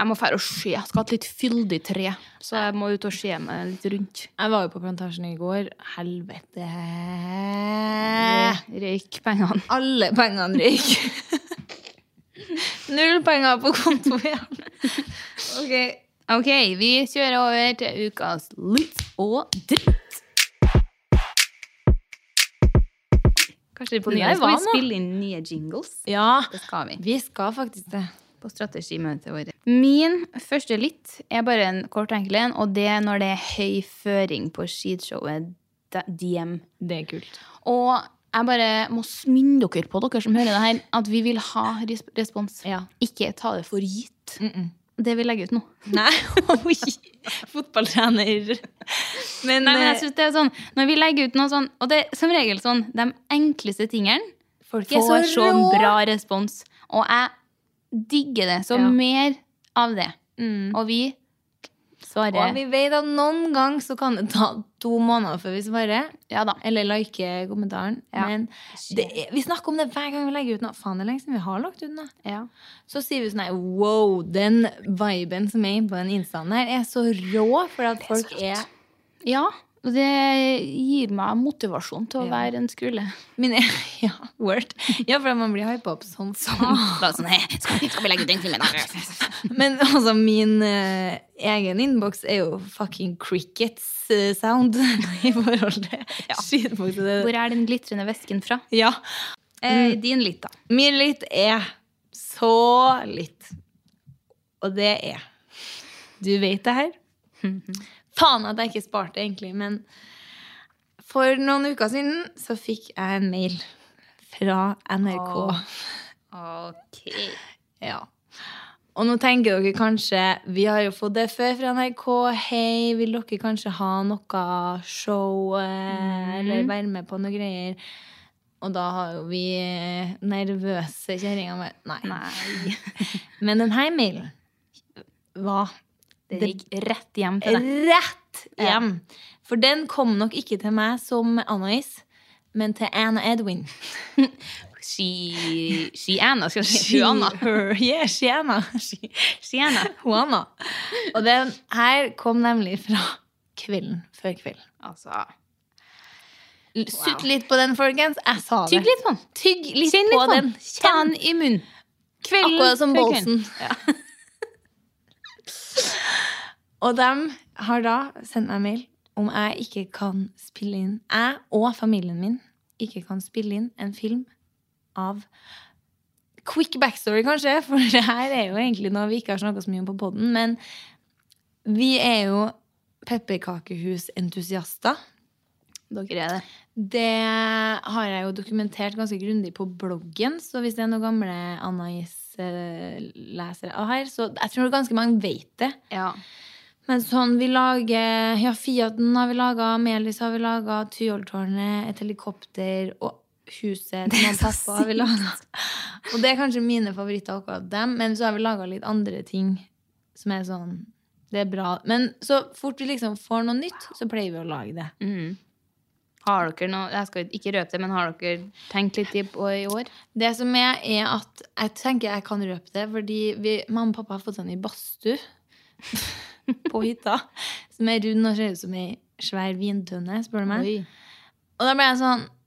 Jeg må fære og se. Jeg skal ha et litt fyldig tre. Så jeg må ut og se meg litt rundt.
Jeg var jo på plantasjen i går. Helvete.
Røyk pengene.
Eh. Alle pengene røyk.
(laughs)
Null penger på konto igjen. Ok.
Ok, vi kjører over til ukas lytt og dritt. Kanskje det er på
Det
nye.
der
Skal
var
vi
noe.
spille inn nye jingles?
Ja,
Det skal vi.
vi skal faktisk det.
På strategimøtet vårt. Min første lytt er bare en kort enkel en, og det er når det er høy føring på skishowet D- DM.
Det er kult.
Og jeg bare må smynde dere på, dere som hører det her, at vi vil ha ris- respons.
Ja.
Ikke ta det for gitt. Det vi legger ut nå.
Nei, (laughs) oi! Fotballtrener. Men, eh,
Nei, men jeg synes det er sånn, Når vi legger ut noe sånn, og det er som regel sånn, de enkleste tingene
folk sånn
får så,
rå.
bra respons. Og jeg digger det. Så
Ja. Mm.
mer av det. Og vi Svarer.
Og vi vet at noen gang så kan det ta to måneder før vi svarer.
Ja da.
Eller like kommentaren.
Ja.
Men det er, vi snakker om det hver gang vi legger ut noe. Faen, det er lenge siden vi har lagt ut noe.
Ja.
Så sier vi sånn her Wow, den viben som er på den instaen her, er så rå. For at folk er
ja. Og det gir meg motivasjon til å
Ja.
være en skrulle.
Min, e- (laughs) ja, word. Ja, for man blir hypa opp sånn (laughs) sånn.
Bare sånn, «Hei, skal, skal vi legge ut den filmen, da?
Men altså, min eh, egen innboks er jo fucking crickets eh, sound (laughs) i forhold til skitboks.
Hvor er den glitrende væsken fra?
Ja. Mm.
Eh, din litt, da.
Min litt er så litt. Og det er Du vet det her? (laughs) Faen at jeg ikke sparte, egentlig, men for noen uker siden så fikk jeg en mail fra NRK.
Ok.
Ja. Og nå tenker dere kanskje Vi har jo fått det før fra NRK. Hei, vil dere kanskje ha noe show eh, eller være med på noe greier? Og da har jo vi eh, nervøse kjerringa vår Nei.
Nei.
(laughs) Men denne mailen var
Det gikk rett hjem til deg.
rett hjem. For den kom nok ikke til meg som Anna-Is, men til Anna
(laughs)
Edwin.
She, she Anna, skal jeg si. Hun Anna.
Her, (laughs) yeah, she Anna. She,
She Anna.
Juana. Og den her kom nemlig fra kvelden før kvelden.
Altså,
L- Sutt litt på den, folkens. Jeg sa det.
tygg litt på den.
Tygg litt
Kjenn
på
litt på
den.
den. Ta den i munnen. Kvelden
Akkurat som
før
Bolsen. og de har da sendt meg mail om jeg ikke kan spille inn Jeg og familien min ikke kan spille inn en film av Quick backstory, kanskje, (laughs) for det her er jo egentlig noe vi ikke har snakka så mye om på poden. Men vi er jo pepperkakehusentusiaster.
Dere er det.
Det har jeg jo dokumentert ganske grundig på bloggen, så hvis det er noen gamle Anais-lesere av her, så jeg tror ganske mange vet det.
Ja.
Men sånn, vi lager Ja, Fiaten har vi laga, Melis har vi laga, Tyholtårnet, et helikopter og huset til mamma og pappa har vi laga. Og det er kanskje mine favoritter, akkurat dem, men så har vi laga litt andre ting som er sånn Det er bra. Men så fort vi liksom får noe nytt, så pleier vi å lage det.
Har dere noe Jeg skal ikke røpe det, men har dere tenkt litt i, på i år?
Det som er, er at jeg tenker jeg kan røpe det, fordi vi, mamma og pappa har fått sånn i badstue på hytta, som er rund og ser ut som ei svær vintønne, spør du meg.
Oi.
Og da ble jeg sånn (sighs)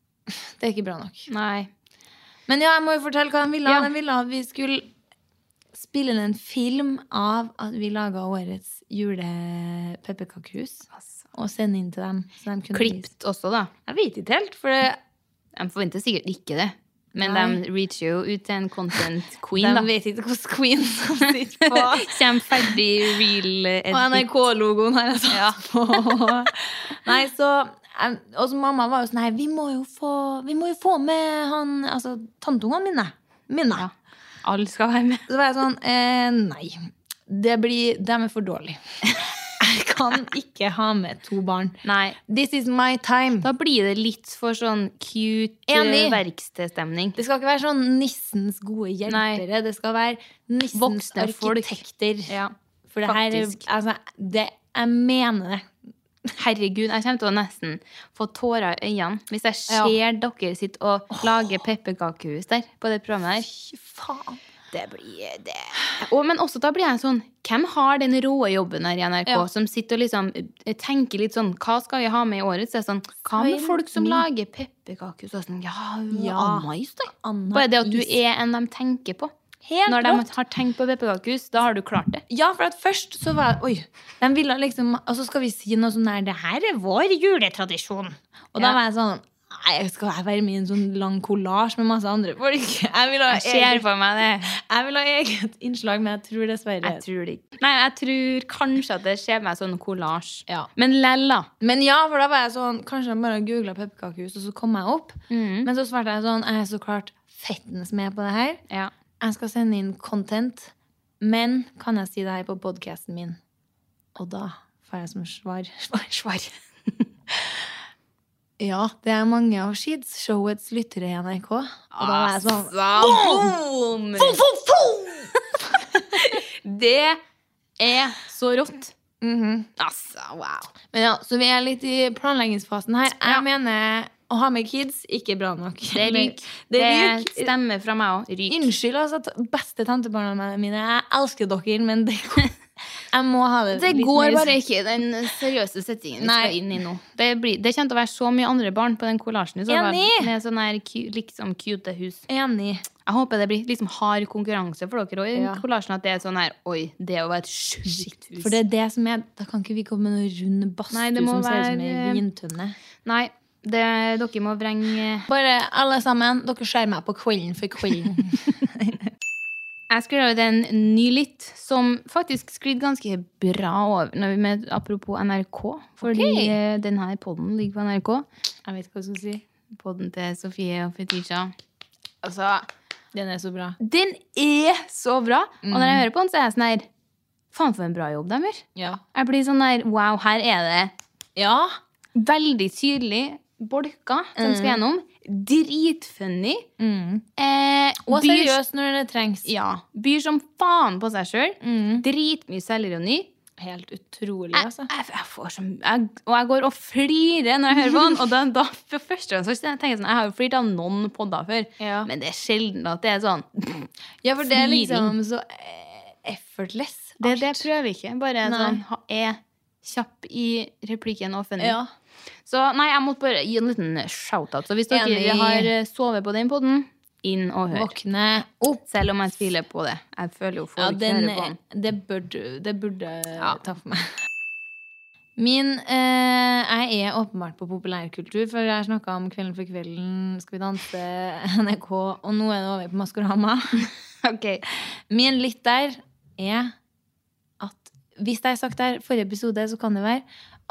Det er ikke bra nok.
Nei.
Men ja, jeg må jo fortelle hva de ville.
Ja.
De ville at vi skulle spille inn en film av at vi laga årets julepepperkakehus, og sende inn til dem. Så de kunne vise.
Klipt også, da.
Altså. Jeg vet ikke helt, for det
De forventer sikkert ikke det. Men
Nei.
de reacher jo ut til en
(laughs)
content queen,
de
da. (laughs)
vet ikke hvordan Queen som sitter på
Kjem ferdig real eh,
(laughs) Og
edit.
NRK-logoen har jeg satt på. (laughs) Nei, så em, Og så mamma var jo sånn Nei, vi må jo få, vi må jo få med han Altså tanteungene mine. Mine.
Alle skal være med.
Så var jeg sånn eh, Nei. Det blir Dem er for dårlige. Jeg kan ikke ha med to barn.
Nei.
This is my time.
Da blir det litt for sånn cute
Enig.
eh, verkstedstemning.
Det skal ikke være sånn nissens gode hjelpere. Det skal være nissens
Voksne folk.
arkitekter.
Ja.
For det her er
Faktisk.
Altså, det, jeg mener det.
Herregud, jeg kommer til å nesten få tårer i øynene hvis jeg ser dere sitte og lage pepperkakehus der. på det programmet der.
Fy faen.
Det blir det. Og, men også da blir jeg sånn Hvem har den rå jobben her i NRK
Ja.
som sitter og liksom eh, tenker litt sånn Hva skal vi ha med i året? Så er det sånn, Hva med folk som lager pepperkaker? Så er det sånn, ja, ja.
Ja.
Anais, da.
Anna
Bare det at du
Is.
er en de tenker på.
Helt
Når de
rått.
har tenkt på pepperkakehus, da har du klart det.
Ja, for at først så var Oi, de ville liksom Og så skal vi si noe sånn der Det her er vår juletradisjon. Og da
Ja.
var jeg sånn Nei, jeg skal jeg være med i en sånn lang kollasj med masse andre folk? (laughs) Jeg vil ha
Ser
eget,
for meg det.
jeg vil ha eget innslag, men jeg tror dessverre
Jeg tror det ikke. Nei, jeg tror kanskje at det skjer meg sånn kollasj.
Ja.
Men lella.
Men ja, for da var jeg sånn Kanskje jeg bare googla pepperkakehus, og så kom jeg opp.
Mm.
Men så svarte jeg sånn Jeg er så klart fettens med på det her.
Ja.
Jeg skal sende inn content, men kan jeg si det her på podcasten min? Og da får jeg som svar (laughs) Svar, svar. ja, det er mange av Sheeds showets lyttere i NRK. Og da er jeg sånn
Boom! (laughs)
«Fo, fo, fo!»
Det er så rått. Altså, wow.
Men ja, Så vi er litt i planleggingsfasen her. Jeg mener å ha med kids ikke bra nok. (laughs)
Det ryker.
Det
Det
ryker.
stemmer fra meg òg. Ryk.
Unnskyld, altså. t- Beste tantebarna mine. Jeg elsker dere, men det (laughs) går Jeg må ha det,
Det
litt
går
mer-
bare ikke i den seriøse settingen vi
Nei.
skal inn i nå. Det, blir, det kommer til å være så mye andre barn på den kollasjen. i så fall,
Enig!
Med sånne her cu- liksom cute hus.
Enig.
Jeg håper det blir liksom hard konkurranse for dere òg i
Ja.
kollasjen. At det er sånn her Oi, det å være et sjukt hus.
For det er det som er Da kan ikke vi komme med noe rund
Nei,
badstue
det må
som ser ut som ei
være-
vintønne.
Nei, det, dere må vrenge
Bare alle sammen, dere ser meg på kvelden for kvelden.
Jeg skulle lage en ny litt som faktisk sklidde ganske bra over når vi med, apropos NRK. Fordi
Ok.
eh, den her podden ligger på NRK.
Jeg vet hva jeg skal si.
Podden til Sofie og Fetisha. (laughs) Altså,
Den er så bra.
den er så bra! Og når jeg hører på den, så er jeg sånn her Faen, for en bra jobb de gjør.
Ja.
Jeg blir sånn der Wow, her er det
ja.
veldig tydelig bolker de skal gjennom. Dritfunny. Eh,
Og
byr-
seriøst når det trengs.
Ja. Byr som faen på seg sjøl. Dritmye selvironi.
Helt utrolig,
Jeg, altså. jeg, jeg får så, jeg, og jeg går og flirer når jeg hører på den. Og da, da for første gang så tenker jeg sånn Jeg har jo flirt av noen podder før,
Ja.
men det er sjelden at det er sånn. (laughs) Det,
Ja, for det er
Fliring.
liksom så eh, effortless.
det prøver jeg ikke. Bare
Nei.
sånn ha- er kjapp i replikken og funny.
Ja.
Så nei, jeg måtte bare gi en liten shout-out. Så hvis dere
Enig.
har eh, sovet på den podden, inn og hør.
Våkne opp.
Selv om jeg tviler på det. Jeg føler jo folk
Ja, den,
hører på den.
det burde, det burde ta for meg. Min eh, Jeg er åpenbart på populærkultur, for jeg snakka om Kvelden for kvelden, Skal vi danse, (laughs) NRK, og nå er det over på (laughs) Maskorama.
Ok.
Min litt der er at Hvis det er sagt der forrige episode, så kan det være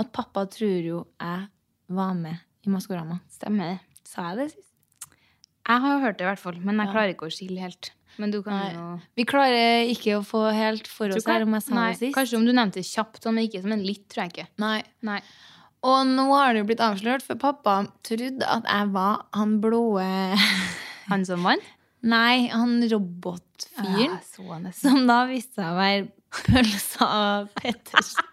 at pappa tror jo jeg var med i Maskorama.
Stemmer det.
Sa jeg det sist?
Jeg har jo hørt det i hvert fall, men jeg klarer ikke å skille helt. Men du kan
Nei.
jo
Vi klarer ikke å få helt for oss her om jeg sa
Nei,
det sist.
Kanskje om du nevnte det kjapt, sånn, men ikke som en litt, tror jeg ikke.
Nei.
Nei.
Og nå har det jo blitt avslørt, for pappa trodde at jeg var han blåe
Han som vant?
(laughs) Nei, han robotfyren.
så han nesten.
Som da viste seg å være pølsa av
(laughs)
Pettersen.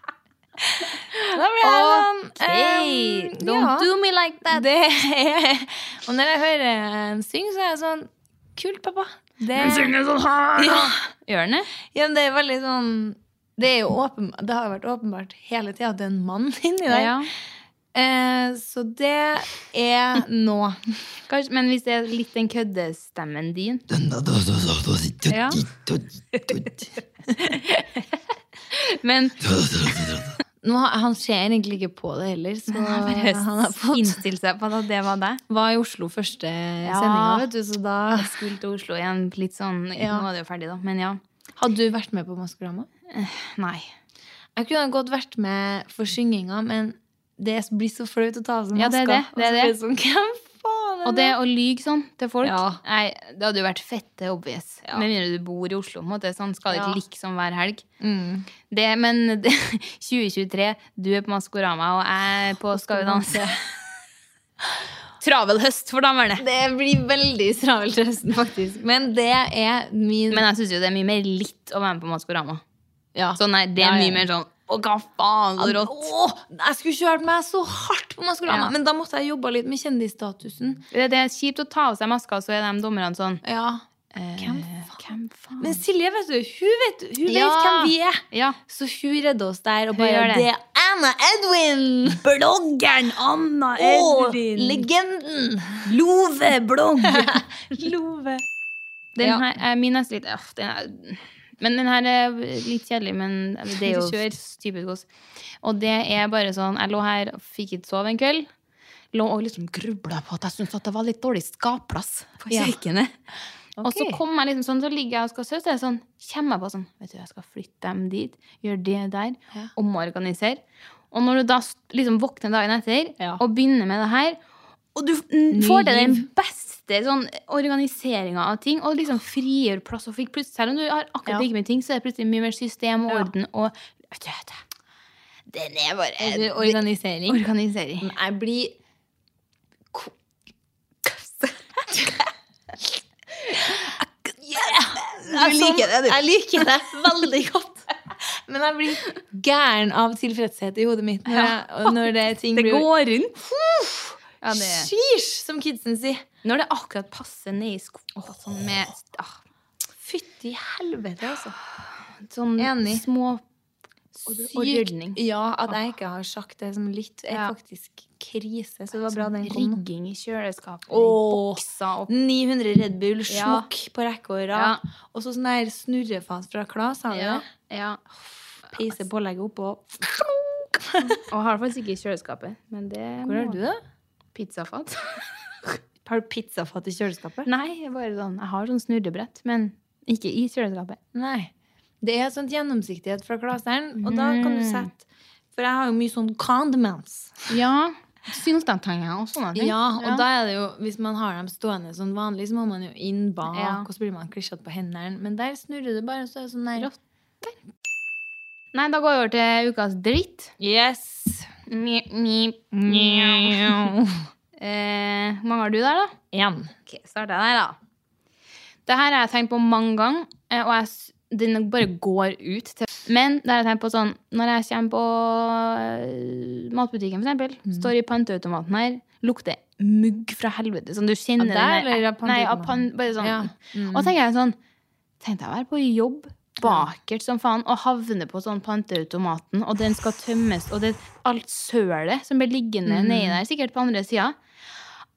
Da ble jeg sånn
Hey,
ehm,
don't
ja.
do me like that!
Det er Og når jeg hører han synge, så er jeg sånn Kult, pappa. Det,
sånn her!
ja,
Gjør han det?
ja, men det er veldig sånn Det, er jo åpenba- det har jo vært åpenbart hele tida at det er en mann inni der.
Ja.
Eh, så det er nå.
Kanskje, men hvis det er litt den køddestemmen din ja. (laughs) Men
nå har- han ser egentlig ikke på det heller, så han har fått
innstill eh, seg på at det var deg.
Var i Oslo første sendinga, vet du, så da
Jeg skulle til Oslo igjen. Litt sånn, Nå er det jo ferdig, da. Men ja.
Hadde du vært med på Maskorama?
Nei.
Jeg kunne godt vært med for synginga, men det blir så flaut å ta av seg
Ja, det er det,
maska.
det er
Og så blir det sånn, hvem faen er
Og det å lyge sånn til folk
Ja.
Nei, Det hadde jo vært fette obvious. Med mindre du bor i Oslo. på en måte, sånn Skal det
Ja.
ikke liksom hver helg.
mm.
Det, men (laughs) det, 2023, du er på Maskorama, og jeg er på Skal vi danse. Travel høst for damerne.
det blir veldig travelt høsten, faktisk. Men det er min
Men jeg syns jo det er mye mer litt å være med på Maskorama.
ja.
Sånn, nei, det
Ja,
er
ja.
mye mer sånn Å, hva faen, så rått.
Åh, jeg skulle kjørt meg så hardt på Maskorama,
Ja.
men da måtte jeg jobbe litt med kjendisstatusen.
Det, det er kjipt å ta av seg maska, så er de dommerne sånn
Ja.
Eh, Hvem faen?
Men Silje, vet du, hun vet, hun
Ja.
vet hvem vi er.
Ja.
Så hun redder oss der og
Hun gjør
bare
det.
Det er Anna Edwin!
Bloggeren Anna
Og legenden! Love (laughs) Blogg. Love.
Den
Ja.
her, eh, min er så litt øff, den er, Men den her er litt kjedelig, men eller, det er
(laughs)
jo
Kjør.
typisk oss. Og det er bare sånn Jeg lå her og fikk ikke sove en kveld. Lå og liksom grubla på at jeg syntes at det var litt dårlig skapplass på
Ja.
kjøkkenet. Og så
Ok.
kom jeg liksom sånn, så ligger jeg og skal sove, så er jeg sånn, kommer jeg på sånn Vet du, jeg skal flytte dem dit, gjøre det der, omorganisere. Og når du da s- liksom våkner dagen etter
Ja.
og begynner med det her, og du f- n- får til den beste sånn, organiseringa av ting, og liksom frigjør plass. Og fikk plutselig, selv om du har akkurat like mye ting, så er det plutselig mye mer system og orden. Og vet du, vet du, den er bare
Altså, Organisering. Mm.
organisering.
Jeg blir (laughs) ko- Jeg liker det, du. Jeg liker det veldig godt. Men jeg blir gæren av tilfredshet i hodet mitt når, jeg, og når det er ting
Det
blir-
går rundt. Ja, det,
Sheesh, som kidsen sier.
når det akkurat passer ned i skoen. Sånn med ah,
Fytti helvete, altså.
sånn
Enig.
små ordning.
Sykt. Ja, at jeg ikke har sagt det som litt, er
Ja.
faktisk krise. Så det var bra den kom. nå.
rigging i kjøleskapet.
Åh.
Bokser opp.
900 Red Bull,
Ja.
smokk på rekke og
Ja.
rad. Og så sånn der snurrefas fra Klas. Har ja.
Ja, ja.
Peise pålegget oppå.
Og jeg har det faktisk ikke i kjøleskapet. Men det
Hvor har du det?
Pizzafat.
Har du pizzafat i kjøleskapet?
(laughs) Nei, jeg bare sånn, jeg har sånn snurrebrett, men ikke i kjøleskapet.
Nei. Det er sånn gjennomsiktighet fra klaseren, og da kan du sette For jeg har jo mye sånn condiments.
Ja, synsdattanger og sånne ting.
Ja, og da er det jo, hvis man har dem stående sånn vanlig, så må man jo inn bak,
Ja.
og så blir man klissete på hendene. Men der snurrer det bare, så er det sånn der
Rått. Nei, da går vi over til ukas dritt.
Yes!
Mjau, mjau,
(laughs)
mjau. Eh, Hvor mange har du der, da?
Én.
Ok, starter jeg der, da. Det her har jeg tenkt på mange ganger, eh, og jeg, s- den bare går ut. Til. Men det har jeg tenkt på sånn, når jeg kommer på eh, matbutikken, for eksempel,
Mm.
står i panteautomaten her, lukter mugg fra helvete. Sånn, du kjenner
Av
den
deg, eller av
Nei, av
panteautomaten?
pan, bare sånn.
Ja.
Og tenker jeg sånn, tenkte jeg å være på jobb, bakert som faen, og havne på sånn panteautomaten, og den skal tømmes, og det alt sølet som blir
Mm.
liggende nedi der, sikkert på andre sida.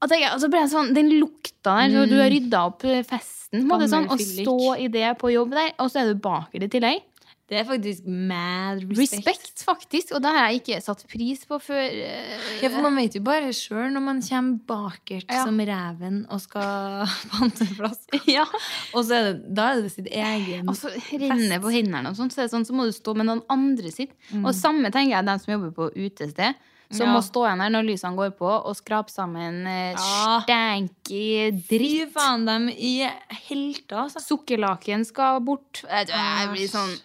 Og, tenker jeg, og så ble jeg sånn, den lukta der, så du har rydda opp eh, festen, på en måte, sånn, og
Mm. Gammel fyllik.
stå i det på jobb der, og så er du baker i tillegg.
Det er faktisk mad respect.
Respekt. faktisk, og det har jeg ikke satt pris på før. eh,
Ja, for man vet jo bare sjøl når man kommer bakert
Ja.
som reven og skal (laughs) pante flasker.
Ja, Altså,
Og så er det, da er det sitt egen
og så renner på hendene og sånn, så er det sånn, så må du stå med noen andre sitt. Og samme tenker jeg dem som jobber på utested, som
Mm. Ja.
må stå igjen her når lysene går på, og skrape sammen eh,
Ja.
stanky
Fy
dritt.
faen, dem i helter, altså.
Sukkerlaken skal bort. Jeg, jeg blir sånn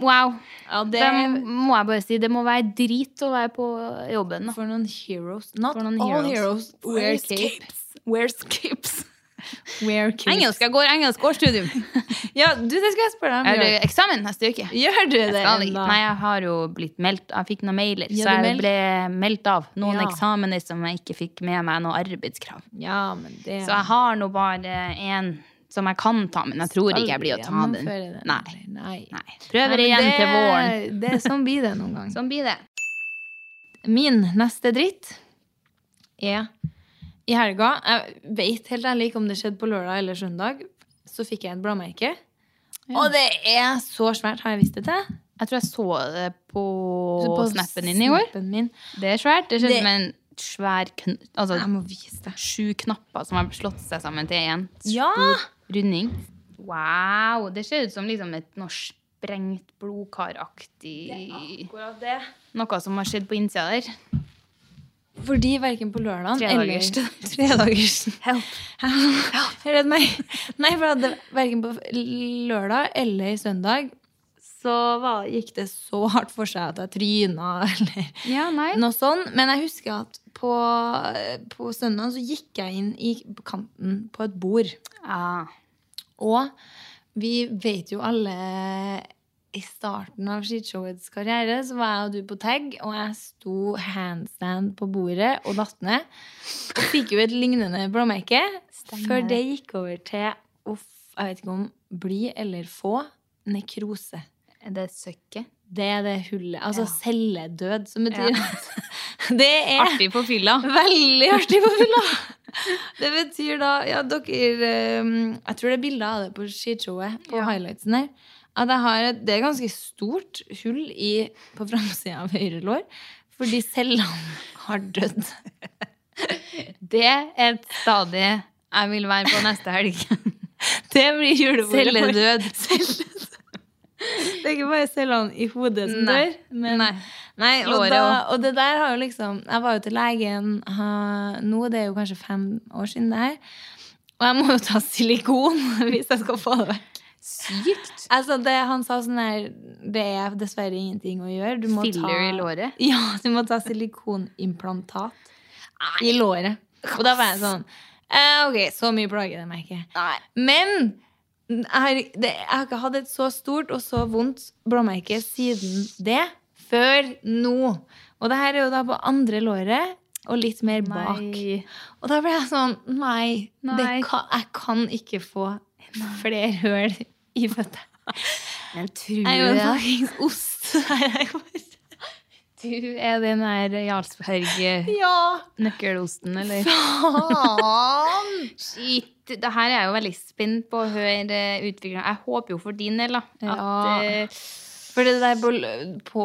Wow.
Ja, det
Det må jeg bare si. Det må være drit å være på jobben. Da.
For noen heroes. Not
For noen
all
heroes.
heroes. Wear capes. Wear capes. (laughs) Wear capes.
jeg går engelsk årsstudium.
Ja, du, det skal jeg spørre deg
Er
om.
det
Bjørn.
eksamen neste uke?
Gjør du det
Skal jeg-
ennå?
Nei, jeg har jo blitt meldt. Jeg fikk noen mailer,
Ja, du
så jeg
meldt.
ble meldt av noen
Ja.
eksamener som jeg ikke fikk med meg noe arbeidskrav.
Ja, men det
Så jeg har nå bare én som jeg kan ta, men jeg tror ikke jeg blir å ta den.
Gjennomføre den.
Nei.
Nei.
Nei.
Nei, men
Prøver igjen
det-
til våren.
Det er sånn blir det noen gang.
Sånn blir det.
Min neste dritt er I helga Jeg vet helt ærlig ikke om det skjedde på lørdag eller søndag. Så fikk jeg et blåmerke. Og det er så svært, har jeg visst det til.
Jeg tror jeg så det på,
På
snappen din i går.
snappen Min.
Det er svært. Det skjedde
Det-
med en svær kn Altså
Jeg må vise det.
sju knapper som har slått seg sammen til én
Ja!
runding. Wow! Det ser ut som liksom et norsk sprengt blodkaraktig
Akkurat det.
Noe som har skjedd på innsida der.
Fordi verken på lørdagen eller (laughs)
Tredagers.
Tredagersen. Help. Help. Redd meg. Nei, for at det- verken på lørdag eller søndag så var, gikk det så hardt for seg at jeg tryna (laughs) eller
Ja, nei.
noe sånn. Men jeg husker at på, på søndag så gikk jeg inn i kanten på et bord.
Ah.
Og vi vet jo alle I starten av skishowets karriere så var jeg og du på tag, og jeg sto handstand på bordet og datt ned. Og fikk jo et lignende blåmerke før det gikk over til å f- jeg vet ikke om bli eller få nekrose.
Er det søkket?
Det er det hullet. Altså celledød, som betyr at (laughs) Det er
Artig på fylla.
(laughs) Veldig artig på fylla. Det betyr da Ja, dere eh, Jeg tror det er bilder av det på skishowet, på highlightsen her. At jeg har et, det er ganske stort hull i, på framsida av høyre lår. Fordi cellene (laughs) har dødd.
(laughs) Det er et stadig jeg vil være på neste helg.
Det blir julebordet.
Celledød.
(laughs) Celledød. Det er ikke bare cellene i hodet som
Nei.
dør. Men,
Nei.
Nei, og,
Låret
da, og det der har jo liksom Jeg var jo til legen ha, nå, det er jo kanskje fem år siden det her. Og jeg må jo ta silikon (laughs) hvis jeg skal få det vekk.
Sykt.
Altså det, Han sa sånn her Det er dessverre ingenting å gjøre. Du må ta,
Filler i låret?
(laughs) Ja, du må ta silikonimplantat i låret. Og da var jeg sånn eh, Ok, så mye plager det meg ikke.
Nei.
Men Jeg har, det, jeg har ikke hatt et så stort og så vondt blåmerke siden det, før nå. Og det her er jo da på andre låret og litt mer bak.
Nei.
Og da ble jeg sånn Nei, Det
Nei.
kan, jeg kan ikke få flere høl i føttene.
Men tror
Jeg er jo en
jeg
fuckings ost. (laughs) Nei, jeg sånn. kommer-
Du er den der Jarlsberg
Ja!
nøkkelosten, eller?
Faen!
Shit. Det her er jeg jo veldig spent på å høre eh, utviklingen. Jeg håper jo for din del, da.
Ja.
At eh,
For det der på, l- på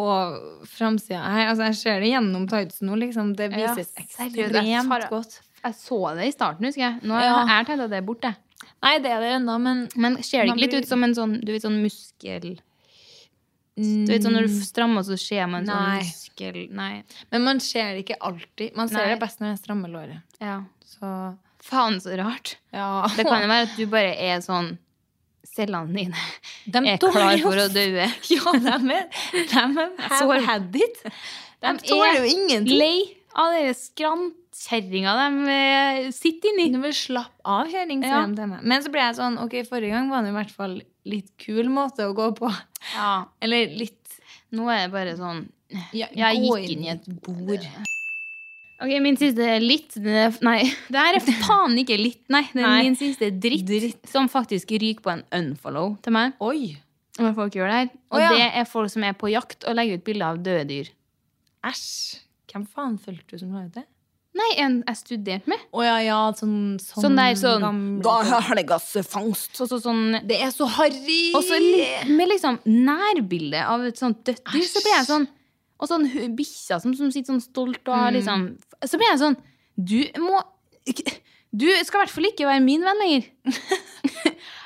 framsida her altså Jeg ser det gjennom tightsen nå, liksom. Det
Ja,
vises
seriøst, jeg tar-
ekstremt godt.
Jeg så det i starten, husker jeg. Nå har
Ja.
jeg tenkt at det er borte.
Nei, det er det ennå, men
Men ser det
Man
ikke litt
blir-
ut som en sånn, du vet, sånn muskel Du vet sånn når du strammer, så ser man en sånn
Nei.
muskel Nei.
Men man ser det ikke alltid. Man ser
Nei.
det best når jeg strammer låret.
Ja.
Så
Faen, så rart.
ja.
Det
(laughs)
kan jo være at du bare er sånn Cellene dine
De
er
tåler
klar
jo
for å dø.
(laughs) Ja, de er, de er
Sår.
have had it. De
De
tåler
er
jo ingenting.
Lei av dere skrantkjerringa de eh, sitter inni.
Du vil slappe av, kjerring, sier
Ja.
de til meg. Men så ble jeg sånn Ok, forrige gang var det i hvert fall litt kul måte å gå på. (laughs)
Ja.
Eller litt
Nå er det bare sånn
ja,
Jeg
gå
gikk inn i et bord. Ok, min siste er litt det er- Nei, (laughs) det her er faen ikke litt. Nei, det er
Nei.
min siste dritt, som faktisk ryker på en unfollow til meg.
Oi!
Når folk gjør det her. Og
Å, ja.
det er folk som er på jakt og legger ut bilder av døde dyr.
Æsj. Hvem faen fulgte du som la ut det?
Nei, en jeg studerte med.
Å ja, ja, sånn, sånn,
Sånn der, sånn,
gamle-
Så, så, sånn
Det er så harry!
Og så li- med liksom nærbilde av et sånt dødt dyr, så blir jeg sånn Og sånn hu- bikkja som, som sitter sånn stolt og
Mm.
har liksom Så blir jeg sånn Du må ikke- Du skal i hvert fall ikke være min venn
(laughs)
lenger.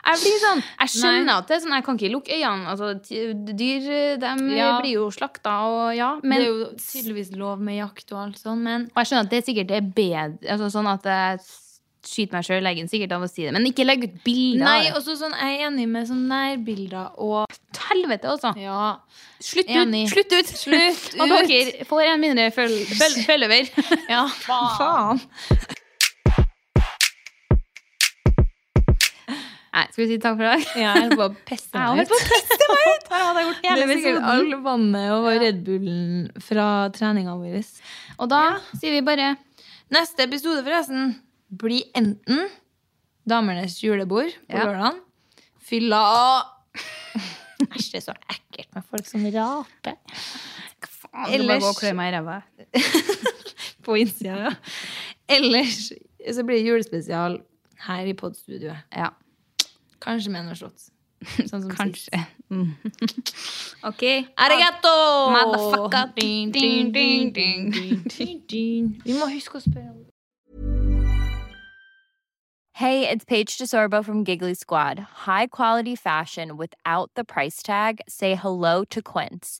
jeg blir sånn Jeg skjønner at det er sånn Jeg kan ikke lukke øynene. Altså, t- dyr de
Ja.
blir jo slakta og ja.
det
Men
er jo tydeligvis lov med jakt og alt sånn, men
og jeg skjønner at det sikkert er bedre altså, Sånn at jeg skyter meg sjøl i leggen sikkert av å si det. Men ikke legg ut bilder.
Nei,
av det.
også sånn, jeg er enig med sånn nærbilder og
Til helvete, altså.
Ja.
Slutt
Enig.
ut! Slutt ut!
Slutt
(laughs) Og
ut.
dere får en mindre føl føl følger.
(laughs) Ja, faen.
Nei, skal vi si takk for i dag?
Ja, jeg holdt på å pisse
Jeg holdt
meg
på
ut.
å teste meg ut! Her hadde jeg gjort
Det er
hele
sikkert
episoden.
all vannet og Red Bullen fra treninga vår.
Og da sier vi bare
Neste episode, forresten, blir enten Damenes julebord på
Ja.
lørdagen. Fylla Æsj, det er så ekkelt med folk som raper.
Ellers
Ellers På innsida, ja. Ellers så blir det julespesial her i podstudioet.
Ja,
Kanskje med noe slått. Sånn som
kanskje.
sist. (laughs)
Mm. ok.
Arigato!
Motherfucker. Ding, ding, ding, ding.
Vi må huske å spørre om
Hey, it's Paige DeSorbo from Giggly Squad. High quality fashion without the price tag. Say hello to Quince.